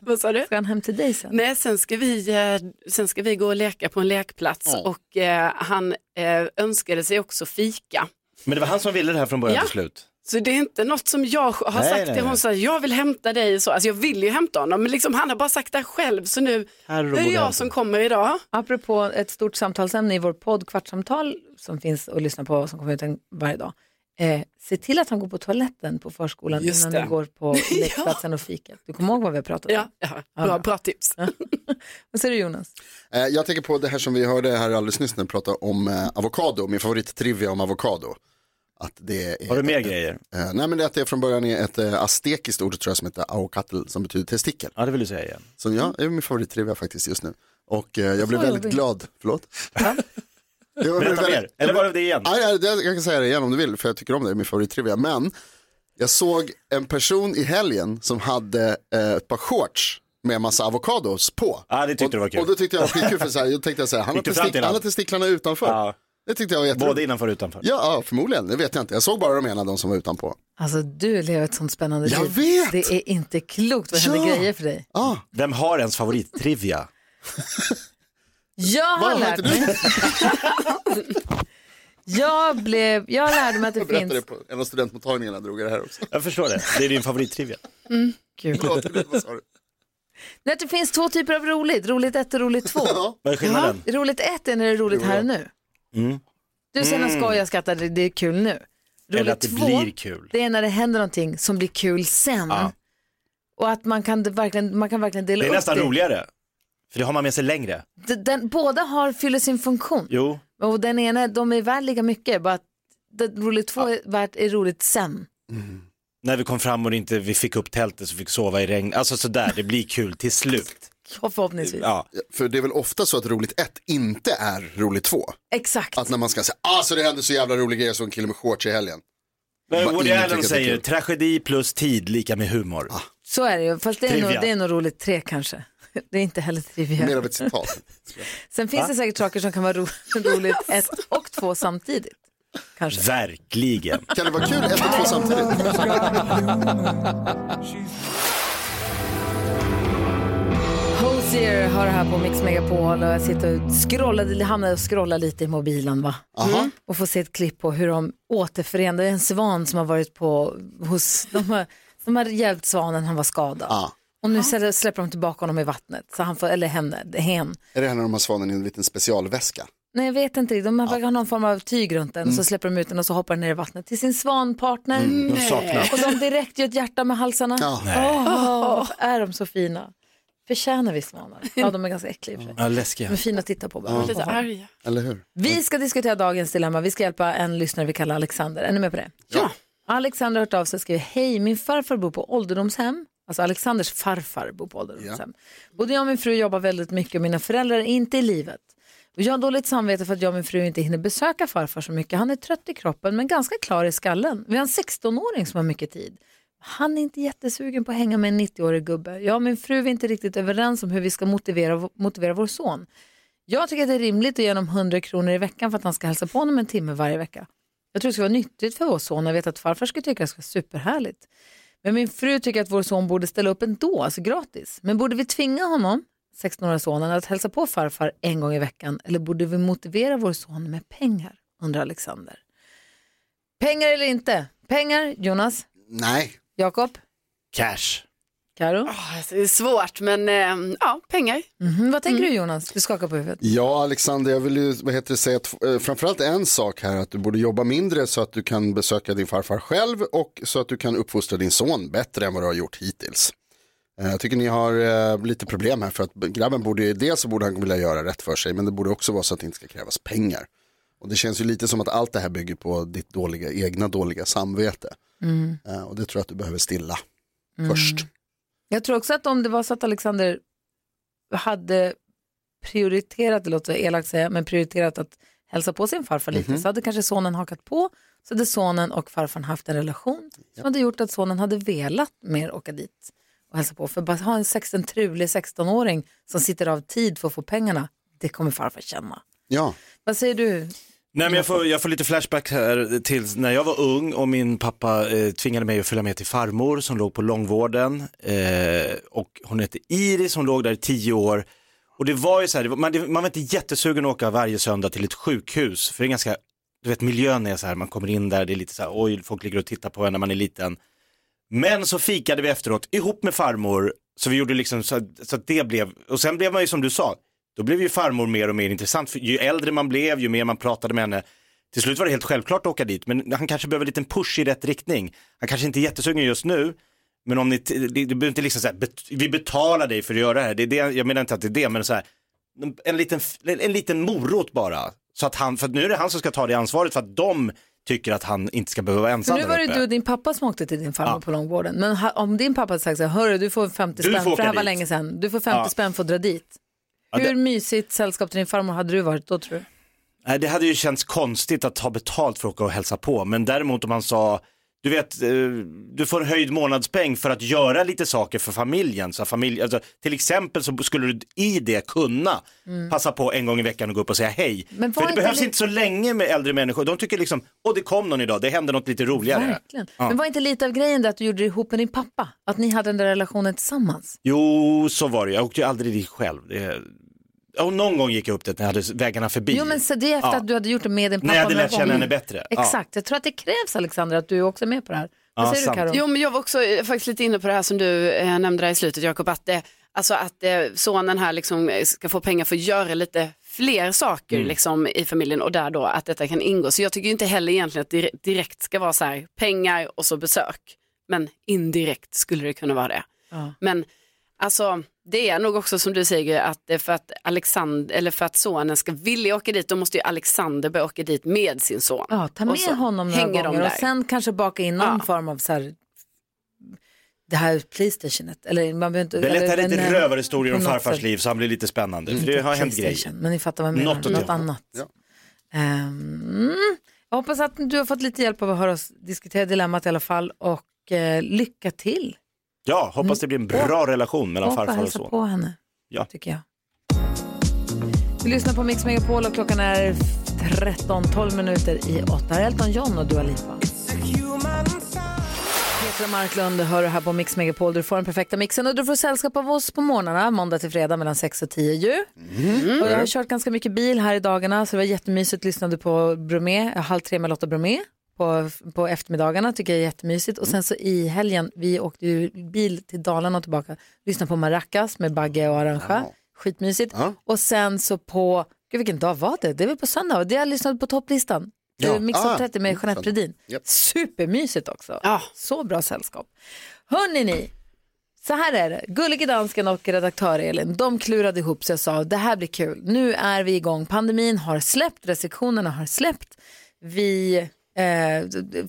[SPEAKER 4] Vad sa du?
[SPEAKER 1] Ska han hem till dig sen?
[SPEAKER 4] Nej, sen ska, vi, eh, sen ska vi gå och leka på en lekplats och eh, han eh, önskade sig också fika.
[SPEAKER 3] Men det var han som ville det här från början
[SPEAKER 4] Ja.
[SPEAKER 3] till slut.
[SPEAKER 4] Så det är inte något som jag har
[SPEAKER 3] Nej,
[SPEAKER 4] sagt
[SPEAKER 3] nej,
[SPEAKER 4] till
[SPEAKER 3] nej.
[SPEAKER 4] hon sa jag vill hämta dig och så. Alltså jag vill ju hämta honom men liksom han har bara sagt det här själv så nu
[SPEAKER 3] Här
[SPEAKER 4] är det jag som kommer idag.
[SPEAKER 1] Apropå ett stort samtalsämne i vår podd Kvartsamtal som finns att lyssna på som kommer ut en- varje dag. Eh, se till att han går på toaletten på förskolan
[SPEAKER 4] Just
[SPEAKER 1] innan
[SPEAKER 4] det.
[SPEAKER 1] ni går på lekplatsen och fiket. Du kommer ihåg vad vi har pratat
[SPEAKER 4] Ja,
[SPEAKER 1] om?
[SPEAKER 4] ja. Bra, bra tips.
[SPEAKER 1] Vad säger du Jonas?
[SPEAKER 2] Eh, Jag tänker på det här som vi hörde här alldeles nyss när vi pratade om eh, avokado, min favorittrivia om avokado. Att det är,
[SPEAKER 3] Har du mer grejer?
[SPEAKER 2] Eh, nej men det är att det från början är ett eh, aztekiskt ord tror jag som heter aokatl som betyder testikel.
[SPEAKER 3] Ja, det vill du säga igen.
[SPEAKER 2] Så ja, det är min favorittrivia faktiskt just nu. Och eh, jag blev
[SPEAKER 1] Så
[SPEAKER 2] väldigt
[SPEAKER 1] jobbigt.
[SPEAKER 2] glad, förlåt. Jag blev
[SPEAKER 3] Berätta
[SPEAKER 2] väldigt-
[SPEAKER 3] mer. Eller var det det igen?
[SPEAKER 2] Nej, nej, det- jag kan säga det igen om du vill, för jag tycker om det, det är min favorittrivia. Men jag såg en person i helgen som hade eh, ett par shorts med massa avokados på.
[SPEAKER 3] Ja, det tyckte
[SPEAKER 2] och,
[SPEAKER 3] du var kul.
[SPEAKER 2] Och då tyckte jag det var skitkul, för så här, jag tänkte jag så här, han, har
[SPEAKER 3] Gick du fram till
[SPEAKER 2] testik- han har
[SPEAKER 3] han?
[SPEAKER 2] testiklarna utanför.
[SPEAKER 3] Ja,
[SPEAKER 2] Det tyckte jag var jätteroligt.
[SPEAKER 3] både innanför och utanför.
[SPEAKER 2] Ja, ja, förmodligen, det vet jag inte. Jag såg bara de ena, de som var utanpå.
[SPEAKER 1] Alltså du lever ett sånt spännande
[SPEAKER 2] Jag
[SPEAKER 1] liv.
[SPEAKER 2] vet!
[SPEAKER 1] Det är inte klokt vad händer
[SPEAKER 2] Ja!
[SPEAKER 1] grejer för dig.
[SPEAKER 2] Ah,
[SPEAKER 3] Vem har ens favorittrivia?
[SPEAKER 1] Jag har
[SPEAKER 2] vad
[SPEAKER 1] lärt
[SPEAKER 2] hette du?
[SPEAKER 1] mig. Jag, blev, jag lärde mig att det
[SPEAKER 2] Jag berättade
[SPEAKER 1] finns...
[SPEAKER 2] på en av studentmottagningarna, drog jag det här också.
[SPEAKER 3] Jag förstår det. Det är din favorittrivia.
[SPEAKER 1] Gud.
[SPEAKER 2] Förlåt, förlåt, vad sa du?
[SPEAKER 1] Nej, att det finns två typer av roligt. Roligt ett och roligt två.
[SPEAKER 2] Ja.
[SPEAKER 3] Vad är skillnaden?
[SPEAKER 1] Roligt ett är när det är roligt här och nu.
[SPEAKER 3] Mm.
[SPEAKER 1] Du säger när skojar, skrattar, det det är kul nu. Roligt
[SPEAKER 3] Eller att det
[SPEAKER 1] två,
[SPEAKER 3] blir kul.
[SPEAKER 1] det är när det händer någonting som blir kul sen.
[SPEAKER 3] Ja.
[SPEAKER 1] Och att man kan verkligen, man kan verkligen dela
[SPEAKER 3] Det är
[SPEAKER 1] upp
[SPEAKER 3] nästan
[SPEAKER 1] det.
[SPEAKER 3] roligare. För det har man med sig längre.
[SPEAKER 1] D- Den, båda har, fyller sin funktion.
[SPEAKER 3] Jo,
[SPEAKER 1] Och den ena, de är värd lika mycket, bara att det, roligt två är, värt, är roligt sen.
[SPEAKER 3] när vi kom fram och inte, vi fick upp tältet så vi fick sova i regn. Alltså sådär, det blir kul till slut.
[SPEAKER 1] Ja, Förhoppningsvis.
[SPEAKER 3] Ja.
[SPEAKER 2] För det är väl ofta så att roligt ett inte är roligt två.
[SPEAKER 1] Exakt.
[SPEAKER 2] Att när man ska säga, alltså det hände så jävla roliga grejer som en kille med shorts i helgen.
[SPEAKER 3] Men
[SPEAKER 2] Bara
[SPEAKER 3] Woody
[SPEAKER 2] ingen
[SPEAKER 3] Allen
[SPEAKER 2] tycker att det är
[SPEAKER 3] säger
[SPEAKER 2] kul. Ah.
[SPEAKER 3] tragedi plus tid lika med humor.
[SPEAKER 1] Så är det ju. Fast det är, nog,
[SPEAKER 3] Trivia.
[SPEAKER 1] det är nog roligt tre kanske. Det är inte heller trivia.
[SPEAKER 2] Mer av ett citat.
[SPEAKER 1] Sen finns det säkert saker som kan vara ro roligt ett och två samtidigt. Kanske.
[SPEAKER 3] Verkligen.
[SPEAKER 2] Kan det vara kul ett och två samtidigt?
[SPEAKER 1] Hosier har det här på Mix Megapol och jag sitter och scrollade, hamnade och scrollade lite i mobilen va. Mm.
[SPEAKER 2] Aha.
[SPEAKER 1] Och får se ett klipp på hur de återförenar, det är en svan som har varit på hos, de har, de har hjälpt svanen, han var skadad.
[SPEAKER 2] Ja.
[SPEAKER 1] Och nu säljer- släpper de tillbaka honom i vattnet, så han får, eller henne, det är hen.
[SPEAKER 2] Är det här när de har svanen i en liten specialväska?
[SPEAKER 1] Nej jag vet inte riktigt, de har ja. någon form av tyg runt den och så släpper de ut den och så hoppar den ner i vattnet till sin svanpartner.
[SPEAKER 3] De saknar.
[SPEAKER 1] Och de direkt gör ett hjärta med halsarna.
[SPEAKER 2] Ja.
[SPEAKER 1] Åh, är de så fina? Förtjänar vi svanar? Ja, de är ganska äckliga i och för sig.
[SPEAKER 3] Ja, läskiga.
[SPEAKER 1] De är fina att titta på bara.
[SPEAKER 4] Lite arga.
[SPEAKER 2] Eller hur?
[SPEAKER 1] Vi ska diskutera dagens dilemma. Vi ska hjälpa en lyssnare vi kallar Alexander. Är ni med på det?
[SPEAKER 4] Ja.
[SPEAKER 1] Alexander har hört av sig och skriver, hej, min farfar bor på ålderdomshem. Alltså Alexanders farfar bor på ålderdomshem. Både jag och min fru jobbar väldigt mycket och mina föräldrar är inte i livet. Och jag har dåligt samvete för att jag och min fru inte hinner besöka farfar så mycket. Han är trött i kroppen men ganska klar i skallen. Vi har en 16-åring som har mycket tid. Han är inte jättesugen på att hänga med en 90-årig gubbe. Jag och min fru är inte riktigt överens om hur vi ska motivera, motivera vår son. Jag tycker att det är rimligt att ge honom 100 kronor i veckan för att han ska hälsa på honom en timme varje vecka. Jag tror det skulle vara nyttigt för vår son. Jag vet att farfar skulle tycka det skulle vara superhärligt. Men min fru tycker att vår son borde ställa upp ändå, alltså gratis. Men borde vi tvinga honom, 16-åriga sonen, att hälsa på farfar en gång i veckan eller borde vi motivera vår son med pengar? undrar Alexander. Pengar eller inte? Pengar, Jonas,
[SPEAKER 2] Nej.
[SPEAKER 1] Jakob,
[SPEAKER 3] Cash.
[SPEAKER 1] Karo.
[SPEAKER 4] Ah, Det är svårt men eh, ja, pengar.
[SPEAKER 1] Mhm, Vad tänker du Jonas? Du skakar på huvudet.
[SPEAKER 2] Ja, Alexander, jag vill ju vad heter det, säga att, eh, framförallt en sak här, att du borde jobba mindre så att du kan besöka din farfar själv och så att du kan uppfostra din son bättre än vad du har gjort hittills. Eh, Jag tycker ni har eh, lite problem här för att grabben borde ju, dels så borde han vilja göra rätt för sig, men det borde också vara så att det inte ska krävas pengar. Och det känns ju lite som att allt det här bygger på ditt dåliga, egna dåliga samvete. Eh, Och det tror jag att du behöver stilla först.
[SPEAKER 1] Jag tror också att om det var så att Alexander hade prioriterat, det låter elakt att säga, men prioriterat att hälsa på sin farfar lite så hade kanske sonen hakat på så hade sonen och farfar haft en relation som hade gjort att sonen hade velat mer åka dit och hälsa på. För bara ha en 16 trulig 16-åring som sitter av tid för att få pengarna, det kommer farfar känna.
[SPEAKER 2] Ja.
[SPEAKER 1] Vad säger du?
[SPEAKER 3] Nej, men jag, får, jag får lite flashback här till när jag var ung och min pappa eh, tvingade mig att följa med till farmor som låg på långvården. Eh, och hon hette Iris, hon låg där i tio år. Och det var ju så här, det var, man, det, man var inte jättesugen att åka varje söndag till ett sjukhus. För det är ganska, du vet miljön är så här, man kommer in där, det är lite så här, oj, folk ligger och tittar på en när man är liten. Men så fikade vi efteråt ihop med farmor, så vi gjorde liksom så, så att det blev, och sen blev man ju som du sa, då blev ju farmor mer och mer intressant. För ju äldre man blev, ju mer man pratade med henne, till slut var det helt självklart att åka dit, men han kanske behöver en liten push i rätt riktning. Han kanske inte är jättesugen just nu, men om ni, t- det- du behöver inte liksom säga, bet, vi betalar dig för att göra det här, det är det, jag menar inte att det är det, men så här, en liten, f- en liten morot bara. Så att han, för att nu är det han som ska ta det ansvaret för att de tycker att han inte ska behöva vara
[SPEAKER 1] Så
[SPEAKER 3] ensam
[SPEAKER 1] nu
[SPEAKER 3] där
[SPEAKER 1] var det
[SPEAKER 3] uppe.
[SPEAKER 1] du och din pappa som åkte till din farmor på långvården. Men ha, om din pappa hade sagt så här, hörru du får 50
[SPEAKER 3] Du
[SPEAKER 1] spänn, för
[SPEAKER 3] får åka
[SPEAKER 1] det här var
[SPEAKER 3] dit."
[SPEAKER 1] länge sedan, du får 50
[SPEAKER 3] Ja.
[SPEAKER 1] spänn för att dra dit.
[SPEAKER 3] Ja,
[SPEAKER 1] Hur
[SPEAKER 3] det-
[SPEAKER 1] mysigt sällskap till din farmor hade du varit då tror du?
[SPEAKER 3] Nej, det hade ju känts konstigt att ha betalt för att åka och hälsa på, men däremot om han sa, du vet, eh, du får en höjd månadspeng för att göra lite saker för familjen. Så att familj, alltså, till exempel så skulle du i det kunna passa på en gång i veckan och gå upp och säga hej.
[SPEAKER 1] Mm. Men var
[SPEAKER 3] för det
[SPEAKER 1] inte
[SPEAKER 3] behövs
[SPEAKER 1] li-
[SPEAKER 3] inte så länge med äldre människor, de tycker liksom, åh det kom någon idag, det hände något lite roligare.
[SPEAKER 1] Verkligen.
[SPEAKER 3] Ja.
[SPEAKER 1] Men var inte lite av grejen där att du gjorde det ihop med din pappa? Att ni hade den där relationen tillsammans?
[SPEAKER 3] Jo, så var det, jag åkte ju aldrig dit själv. Det... Och någon gång gick jag upp dit när jag hade vägarna förbi.
[SPEAKER 1] Jo men så det är efter
[SPEAKER 3] Ja.
[SPEAKER 1] att du hade gjort det med din pappa.
[SPEAKER 3] När jag hade
[SPEAKER 1] några
[SPEAKER 3] lärt känna
[SPEAKER 1] gånger.
[SPEAKER 3] henne bättre. Ja.
[SPEAKER 1] Exakt, jag tror att det krävs Alexandra att du också är med på det här. Vad
[SPEAKER 3] Ja,
[SPEAKER 1] säger
[SPEAKER 3] sant.
[SPEAKER 1] du Karo?
[SPEAKER 4] Jo, men jag var också eh, faktiskt lite inne på det här som du eh, nämnde där i slutet, Jakob, att, eh, alltså att eh, sonen här liksom eh, ska få pengar för att göra lite fler saker
[SPEAKER 1] Mm.
[SPEAKER 4] liksom, i familjen och där då att detta kan ingå. Så jag tycker ju inte heller egentligen att det direkt ska vara så här pengar och så besök, men indirekt skulle det kunna vara det.
[SPEAKER 1] Ja.
[SPEAKER 4] Men alltså, det är nog också som du säger att eh, för att, Alexander, eller för att sonen ska vilja åka dit, då måste ju Alexander börja åka dit med sin son.
[SPEAKER 1] Ja, ta
[SPEAKER 4] Och
[SPEAKER 1] med
[SPEAKER 4] så
[SPEAKER 1] honom några
[SPEAKER 4] hänger de
[SPEAKER 1] gånger och
[SPEAKER 4] där.
[SPEAKER 1] sen kanske baka in någon
[SPEAKER 4] Ja.
[SPEAKER 1] form av så här, det här Playstationet. Eller man behöver inte...
[SPEAKER 3] Berätta
[SPEAKER 1] eller eh,
[SPEAKER 3] lite
[SPEAKER 1] den-
[SPEAKER 3] rövarhistorier om
[SPEAKER 1] på något
[SPEAKER 3] farfars
[SPEAKER 1] sätt. Mm,
[SPEAKER 3] liv så han blir lite spännande. För det har hänt grejer.
[SPEAKER 1] Playstation, Men ni fattar vad jag menar,
[SPEAKER 3] Något
[SPEAKER 1] något,
[SPEAKER 3] åt det hållet.
[SPEAKER 1] annat.
[SPEAKER 2] Ja.
[SPEAKER 1] Ehm, jag hoppas att du har fått lite hjälp av att höra oss diskutera dilemmat i alla fall och eh, lycka till.
[SPEAKER 3] Ja, hoppas det blir en bra relation mellan
[SPEAKER 1] Mm. Hoppa och
[SPEAKER 3] farfar och
[SPEAKER 1] hälsa
[SPEAKER 3] son.
[SPEAKER 1] på henne,
[SPEAKER 3] Ja.
[SPEAKER 1] tycker jag. Vi lyssnar på Mix Megapol och klockan är 13-12 minuter i 8. Här är Elton John och Dua Lipa. Petra Marklund hör du här på Mix Megapol. Du får den perfekta mixen och du får sällskap av oss på morgnarna, måndag till fredag mellan 6 och 10 ju.
[SPEAKER 2] Mm.
[SPEAKER 1] Och jag har kört ganska mycket bil här i dagarna så det var jättemysigt. Lyssnade på Bromé, Halv tre med Lotta Bromé på, på eftermiddagarna. Tycker jag är jättemysigt. Och sen så i helgen, vi åkte ju bil till Dalarna och tillbaka. Lyssnade på Maracas med Bagge och Arantxa. Skitmysigt.
[SPEAKER 2] Ja.
[SPEAKER 1] Och sen så på, gud vilken dag var det? Det var på söndag. Det jag lyssnade på topplistan.
[SPEAKER 2] Ja.
[SPEAKER 1] Ja. Mix
[SPEAKER 2] Ah.
[SPEAKER 1] ah. 30 med Jeanette
[SPEAKER 2] Spännande.
[SPEAKER 1] Bredin.
[SPEAKER 2] Japp.
[SPEAKER 1] Supermysigt också.
[SPEAKER 4] Ja.
[SPEAKER 1] Så bra sällskap. Hörrni ni, så här är det. Gullige dansken och redaktör Elin, de klurade ihop sig och sa det här blir kul. Nu är vi igång. Pandemin har släppt, restriktionerna har släppt. Vi, eh,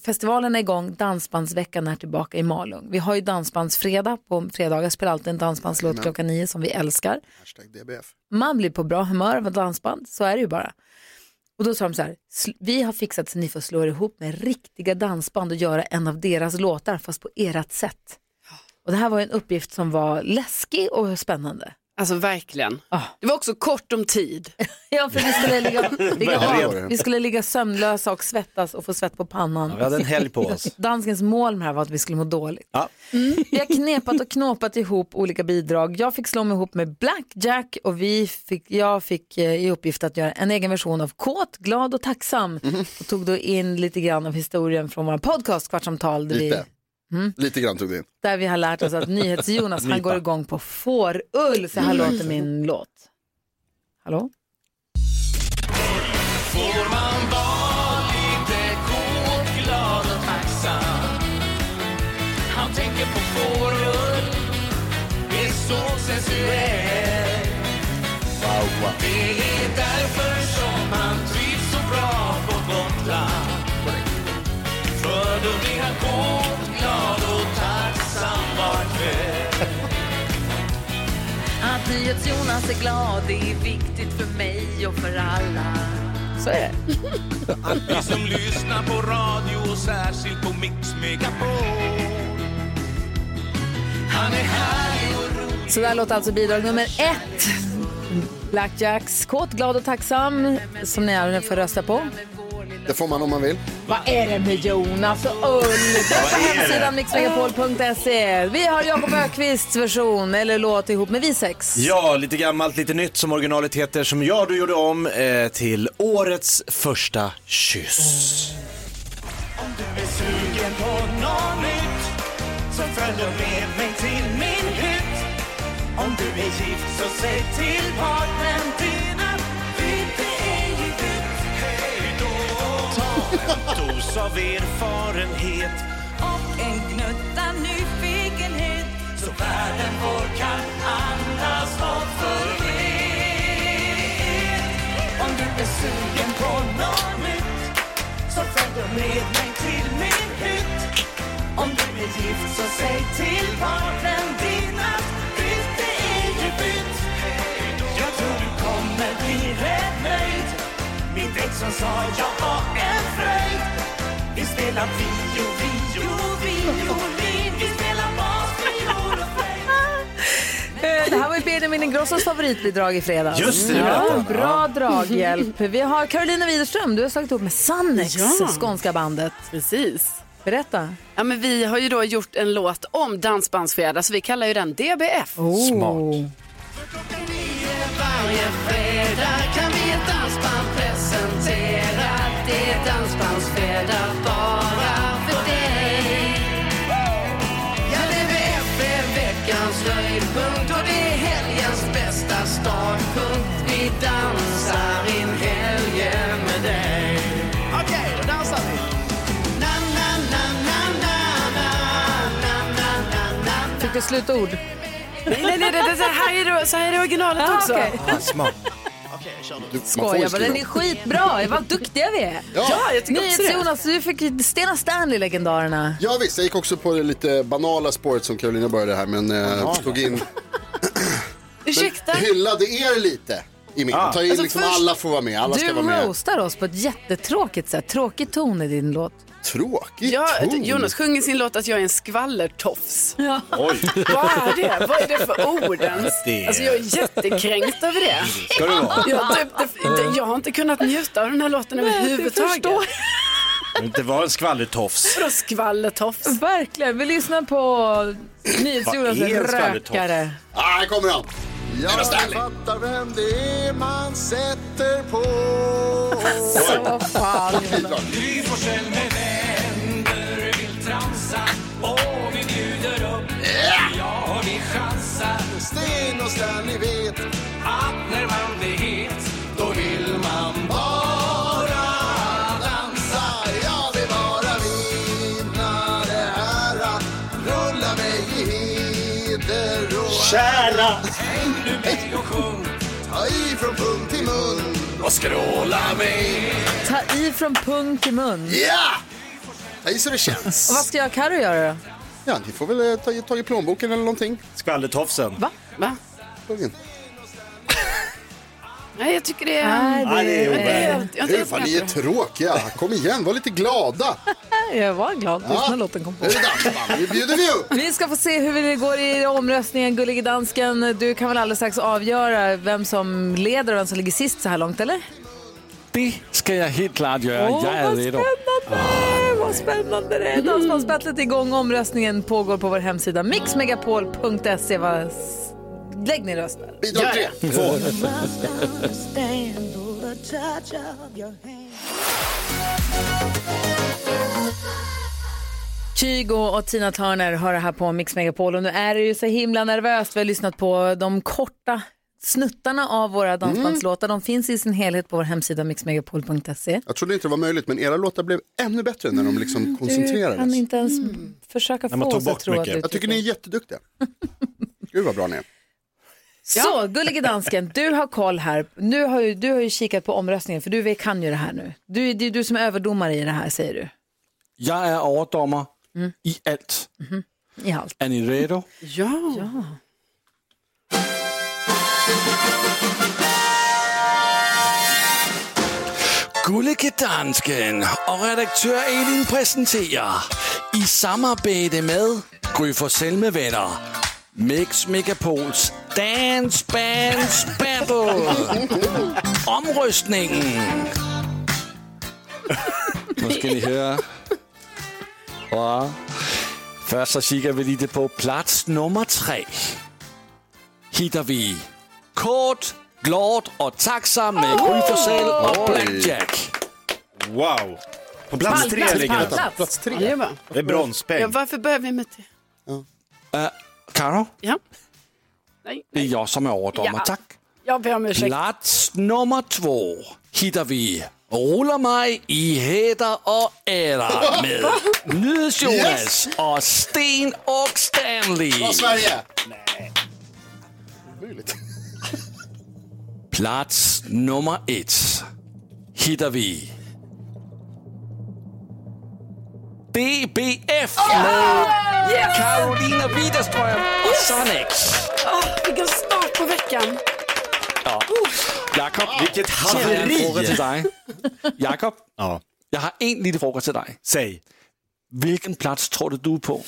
[SPEAKER 1] festivalen är igång, Dansbandsveckan är tillbaka i Malung. Vi har ju Dansbandsfredag på fredagar, spelar alltid en dansbandslåt klockan nio som vi älskar.
[SPEAKER 2] Hashtag DBF.
[SPEAKER 1] Man blir på bra humör av ett dansband, så är det ju bara. Och då sa de så här, "Sl- vi har fixat så ni får slå er ihop med riktiga dansband och göra en av deras låtar fast på ert sätt. Och det här var ju en uppgift som var läskig och spännande.
[SPEAKER 4] Alltså verkligen.
[SPEAKER 1] Ah.
[SPEAKER 4] Det var också kort om tid.
[SPEAKER 1] Ja, för vi skulle ligga, ligga,
[SPEAKER 2] Verkligen.
[SPEAKER 1] vi skulle ligga sömnlösa och svettas och få svett på pannan.
[SPEAKER 3] Vi hade en helg på oss.
[SPEAKER 1] Danskens mål med det här var att vi skulle må dåligt. Mm.
[SPEAKER 3] Ja.
[SPEAKER 1] Vi har knepat och knåpat ihop olika bidrag. Jag fick slå mig ihop med Blackjack och vi fick, jag fick eh, i uppgift att göra en egen version av Kåt, glad och tacksam. Och tog då in lite grann av historien från vår podcast Kvartsamtal där, vi,
[SPEAKER 2] Lite. Lite grann tog vi in.
[SPEAKER 1] där vi har lärt oss att NyhetsJonas han går igång på fårull. Så här låter min låt. Hallå? Att NyhetsJonas är glad det är viktigt för mig och för alla. Så är det.
[SPEAKER 8] Vi som lyssnar på radio och särskilt på Mix Megapol. Han är härlig och rolig
[SPEAKER 1] Så där låter alltså bidrag nummer ett. Blackjacks Kåt, glad och tacksam som ni är får rösta på.
[SPEAKER 2] Det får man om man vill.
[SPEAKER 1] Vad är det med Jonas och Ull? På hemsidan mixmegapol.se. Vi har Jakob Ökvists version, eller låt ihop med vi sex.
[SPEAKER 3] Ja, lite gammalt, lite nytt som originalet heter, som jag då gjorde om eh, till årets första kyss.
[SPEAKER 1] Eh, Det här var ju Benjamin Ingrossos favoritbidrag i fredags.
[SPEAKER 3] Just det, det
[SPEAKER 1] ja,
[SPEAKER 3] berättade han.
[SPEAKER 1] Bra draghjälp. Vi har Carolina Widerström, du har slagit ihop med Sannex,
[SPEAKER 4] Ja.
[SPEAKER 1] skånska bandet.
[SPEAKER 4] Precis.
[SPEAKER 1] Berätta.
[SPEAKER 4] Ja, men vi har ju då gjort en låt om Dansbandsfredag, så vi kallar ju den DBF.
[SPEAKER 1] Smart.
[SPEAKER 4] Varje fredag kan vi ett dansband presentera Det är dansbandsfredag bara för dig Ja, DBF är veckans höjdpunkt och det är helgens bästa startpunkt Vi dansar in helgen med dig Okej, då dansar vi! Na, na, na, na, na, na, na, na, na, na
[SPEAKER 1] Fick du slutord?
[SPEAKER 4] Nej, nej, nej, det, det, här, är, det- så här är originalet
[SPEAKER 1] Ah,
[SPEAKER 4] också.
[SPEAKER 1] okej.
[SPEAKER 2] Du, man får ju
[SPEAKER 1] Skoja bara,
[SPEAKER 2] skriva.
[SPEAKER 1] den är skitbra. Vad duktiga vi är.
[SPEAKER 4] Ja, jag tycker också det.
[SPEAKER 1] Jonas, du fick Stena Stanley, legendarerna.
[SPEAKER 2] Ja visst, jag gick också på det lite banala spåret som Carolina började här men eh, tog in,
[SPEAKER 4] Ursäkta?
[SPEAKER 2] hyllade er lite i min. Ta in liksom
[SPEAKER 4] Ah. Alltså, först-
[SPEAKER 2] alla får vara med, alla
[SPEAKER 1] Du
[SPEAKER 2] ska vara med.
[SPEAKER 1] roastar oss på ett jättetråkigt sätt. Tråkig ton i din låt.
[SPEAKER 2] Tråkigt
[SPEAKER 4] Ja,
[SPEAKER 2] ton.
[SPEAKER 4] Jonas sjunger sin låt att jag är en skvallertofs.
[SPEAKER 3] Oj,
[SPEAKER 4] Vad är det? Vad är det för ord ens?
[SPEAKER 3] Det-
[SPEAKER 4] Alltså jag är jättekränkt över det.
[SPEAKER 3] ska det vara.
[SPEAKER 4] Jag, typ, det- jag har inte kunnat njuta av den här låten överhuvudtaget.
[SPEAKER 3] Det inte vara en skvallertofs.
[SPEAKER 4] Vadå skvallertofs?
[SPEAKER 1] Verkligen. Vi lyssnar på NyhetsJonas
[SPEAKER 3] Vad är en skvallertofs?
[SPEAKER 1] rökare.
[SPEAKER 2] Ah, här kommer han. Jag
[SPEAKER 8] fattar vem det är man sätter på
[SPEAKER 1] Så vad fan.
[SPEAKER 2] Bidrag.
[SPEAKER 8] Sten och Stan, ni vet
[SPEAKER 1] Ta i från pung till mun.
[SPEAKER 2] Ja! Ta i så det känns.
[SPEAKER 1] Och vad ska jag och Karo göra då?
[SPEAKER 2] Ja, ni får väl eh, ta, ta i plånboken eller någonting.
[SPEAKER 3] Skvallertofsen.
[SPEAKER 4] Va?
[SPEAKER 2] Pluggen.
[SPEAKER 4] Nej, jag tycker det är...
[SPEAKER 3] Nej, det är
[SPEAKER 4] Jag
[SPEAKER 3] obehagligt.
[SPEAKER 4] är helt- jag är
[SPEAKER 2] Hur
[SPEAKER 4] inte
[SPEAKER 2] fan, ni
[SPEAKER 4] ens
[SPEAKER 2] är
[SPEAKER 4] med på
[SPEAKER 2] tråkiga. Kom igen, var lite glada.
[SPEAKER 1] Jag var glad precis när låten kom på.
[SPEAKER 2] Nu är det dags, man. Nu bjuder vi upp.
[SPEAKER 1] Vi ska få se hur det går i omröstningen, Gullige Dansken. Du kan väl alldeles strax avgöra vem som leder och vem som ligger sist så här långt, eller?
[SPEAKER 5] Det ska jag helt klart göra.
[SPEAKER 1] Åh,
[SPEAKER 5] jag är
[SPEAKER 1] vad
[SPEAKER 5] redo.
[SPEAKER 3] Ah,
[SPEAKER 1] spännande! Vad spännande det är. Dansbandsbattlet är igång. Omröstningen pågår på vår hemsida mixmegapol.se. Vad s- Lägg ner rösten.
[SPEAKER 2] Bidrag tre.
[SPEAKER 1] Kygo och Tina Turner hör det här på Mix Megapol och nu är det ju så himla nervöst. Vi har lyssnat på de korta snuttarna av våra dansbandslåtar. De finns i sin helhet på vår hemsida mixmegapol.se.
[SPEAKER 2] Jag trodde inte det var möjligt, men era låtar blev ännu bättre när de liksom
[SPEAKER 1] Mm, Du kan
[SPEAKER 2] koncentrerades.
[SPEAKER 1] inte ens
[SPEAKER 3] Mm.
[SPEAKER 1] försöka få
[SPEAKER 3] man tog
[SPEAKER 1] oss att
[SPEAKER 3] bort
[SPEAKER 1] tro att
[SPEAKER 3] mycket.
[SPEAKER 1] du
[SPEAKER 2] Jag tycker ni är jätteduktiga. Gud vad bra ni är.
[SPEAKER 1] Så, gullige dansken, du har koll här. Nu har ju, du har ju kikat på omröstningen, för du vet- kan ju det här nu. Du, det är du som är överdomare i det här, säger du.
[SPEAKER 5] Jag är överdomare i allt.
[SPEAKER 1] I allt.
[SPEAKER 5] Är ni redo?
[SPEAKER 4] Ja.
[SPEAKER 5] Gullige Dansken og redaktør Elin præsenterer i samarbejde med Gry for Selmevenner Mix Megapols Dance Bands Battle. Omrøstningen. Nu skal I høre. Og først så kigger vi lige det på plads nummer tre. Hitter vi Kort, Glort og Taxa med Gry Forssell og Blackjack.
[SPEAKER 3] Wow. På plats
[SPEAKER 4] Pall,
[SPEAKER 3] tre
[SPEAKER 4] plats,
[SPEAKER 3] ligger
[SPEAKER 4] pall.
[SPEAKER 3] den.
[SPEAKER 2] Vänta, Plats
[SPEAKER 4] Ja,
[SPEAKER 2] tre.
[SPEAKER 4] det är bra.
[SPEAKER 3] Det
[SPEAKER 4] Ja,
[SPEAKER 3] är bronspeng.
[SPEAKER 4] varför börjar vi med det?
[SPEAKER 5] Eh, Karo,
[SPEAKER 4] Ja. Nej,
[SPEAKER 5] det er jeg som er overdommer.
[SPEAKER 4] Ja.
[SPEAKER 5] Tak.
[SPEAKER 4] jag ber om ursäkt.
[SPEAKER 5] Plats nummer två hittar vi Ruller mig i hæder og æder med Nydes Jonas og Sten og Stanley.
[SPEAKER 2] Ja, Sverige!
[SPEAKER 5] Plats nummer et hittar vi DBF
[SPEAKER 4] Ah!
[SPEAKER 5] med Karolina Widerstrøm og Sonic.
[SPEAKER 4] Ah, vilken start på veckan.
[SPEAKER 5] Jakob,
[SPEAKER 4] Ah!
[SPEAKER 3] Vilket
[SPEAKER 5] så har jeg en fråga
[SPEAKER 3] haveri.
[SPEAKER 5] til dig. Jakob,
[SPEAKER 3] Ja,
[SPEAKER 5] jeg har en lille fråga til dig.
[SPEAKER 3] säg.
[SPEAKER 5] Hvilken plats tror du du er på?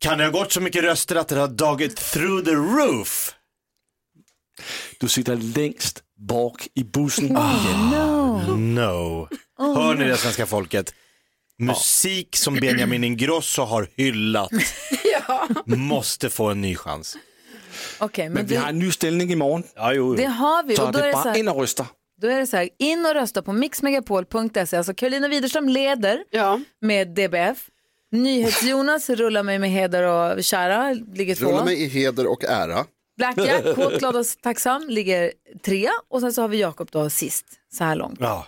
[SPEAKER 3] Kan det ha gått så mycket röster att det har dragit through the roof?
[SPEAKER 5] Du sitter længst bak i bussen. Ah,
[SPEAKER 3] No. Hör ni det svenska folket? Musik som Benjamin Ingrosso har hyllat måste få en ny chans.
[SPEAKER 1] Okej, men,
[SPEAKER 5] Men vi har
[SPEAKER 1] det,
[SPEAKER 5] en ny stilling i morgen,
[SPEAKER 3] Ja, jo,
[SPEAKER 1] det
[SPEAKER 3] jo.
[SPEAKER 1] har vi.
[SPEAKER 5] så
[SPEAKER 1] Och då,
[SPEAKER 5] det
[SPEAKER 1] är
[SPEAKER 5] er
[SPEAKER 1] det så
[SPEAKER 5] bare
[SPEAKER 1] här,
[SPEAKER 5] ind og ryster.
[SPEAKER 1] då är det så här, in och rösta på mixmegapol.se. Alltså Karolina Widerström leder
[SPEAKER 4] Ja.
[SPEAKER 1] med DBF. NyhetsJonas rullar mig med heder och kära, ligger
[SPEAKER 2] Rulla
[SPEAKER 1] två.
[SPEAKER 2] mig i heder och ära.
[SPEAKER 1] Blackjack, kåt, glad och tacksam, ligger trea. Och sen så har vi Jakob då sist, så här långt.
[SPEAKER 3] Ja.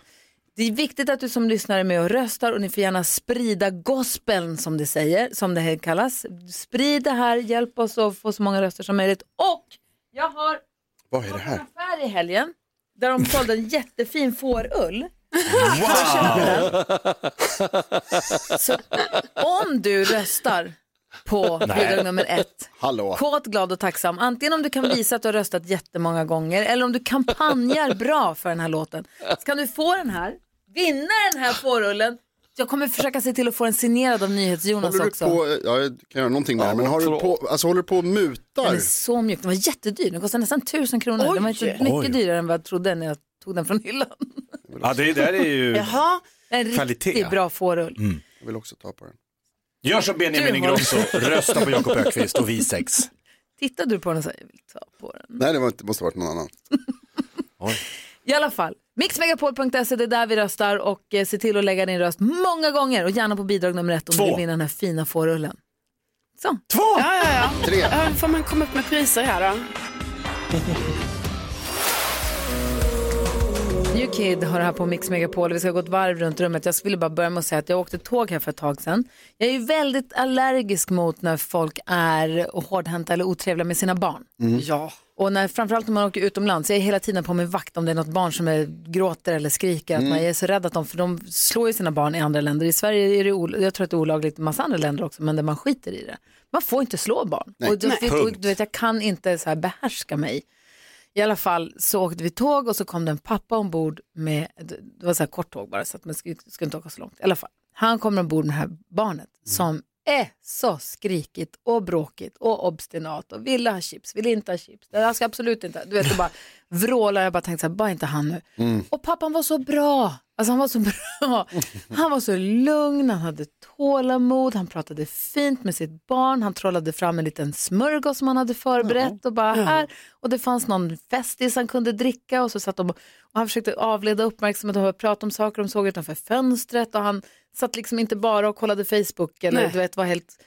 [SPEAKER 1] Det är viktigt att du som lyssnar är med och röstar och ni får gärna sprida gospeln som det säger, som det här kallas. Sprid det här, hjälp oss att få så många röster som möjligt. Och jag har
[SPEAKER 2] Vad är det här?
[SPEAKER 1] affär i helgen där de sålde en jättefin fårull.
[SPEAKER 3] Wow!
[SPEAKER 1] Så om du röstar på bidrag nummer ett,
[SPEAKER 2] Hallå.
[SPEAKER 1] kåt, glad och tacksam, antingen om du kan visa att du har röstat jättemånga gånger eller om du kampanjar bra för den här låten, så kan du få den här, vinna den här fårullen. Jag kommer försöka se till att få den signerad av NyhetsJonas
[SPEAKER 2] Håller du
[SPEAKER 1] också.
[SPEAKER 2] på, ja, jag kan göra någonting med det här, men har du på, alltså håller du på och
[SPEAKER 1] Den är
[SPEAKER 2] mutar?
[SPEAKER 1] så mjuk. Den var jättedyr. Den kostade nästan tusen kronor. den var inte mycket
[SPEAKER 3] Oj.
[SPEAKER 1] dyrare än vad jag trodde när jag tog den från hyllan.
[SPEAKER 3] Ja, det där är ju...
[SPEAKER 1] Jaha. En
[SPEAKER 3] Kvalitet.
[SPEAKER 1] riktigt bra fårull.
[SPEAKER 2] Jag vill också ta på den.
[SPEAKER 3] Gör som Benjamin
[SPEAKER 1] Du har-
[SPEAKER 3] Ingrosso, rösta på Jakob Ökvist och vi sex.
[SPEAKER 1] Tittade du på den och sa jag vill ta på den.
[SPEAKER 2] Nej, det var inte- måste ha varit någon annan.
[SPEAKER 1] I alla fall, mixmegapol.se det är där vi röstar och eh, se till att lägga din röst många gånger och gärna på bidrag nummer ett om
[SPEAKER 3] Två.
[SPEAKER 1] du vill vinna den här fina fårullen. Så,
[SPEAKER 4] Ja, ja, ja.
[SPEAKER 2] Tre.
[SPEAKER 4] Ja, får man komma upp med priser här då?
[SPEAKER 1] New Kid har det här på Mix Megapol. Vi ska gå ett varv runt rummet. Jag skulle bara börja med att säga att jag åkte tåg här för ett tag sedan. Jag är ju väldigt allergisk mot när folk är hårdhänta eller otrevliga med sina barn.
[SPEAKER 4] Ja.
[SPEAKER 1] Och när, framförallt när man åker utomlands, jag är hela tiden på min vakt om det är något barn som är, gråter eller skriker. Att man är så rädd att de, för de slår ju sina barn i andra länder. I Sverige är det, ol- jag tror att det är olagligt i massa andra länder också, men där man skiter i det. Man får inte slå barn. och du, och, du vet, jag kan inte så här behärska mig. I alla fall så åkte vi tåg och så kom det en pappa ombord med, det var så här kort tåg bara så att man skulle, skulle inte åka så långt. I alla fall, han kommer ombord med det här barnet som är så skrikigt och bråkigt och obstinat och ville ha chips, ville inte ha chips. Det där ska absolut inte, ha." du vet, och bara vrålar. Jag bara tänkte så här, bara inte han nu. Och pappan var så bra. Alltså han var så bra. Han var så lugn, han hade tålamod, han pratade fint med sitt barn, han trollade fram en liten smörgås som han hade förberett och bara här. Och det fanns någon festis han kunde dricka och så satt de och, och han försökte avleda uppmärksamheten och prata om saker de såg utanför fönstret och han satt liksom inte bara och kollade Facebook eller
[SPEAKER 4] Nej.
[SPEAKER 1] du vet var helt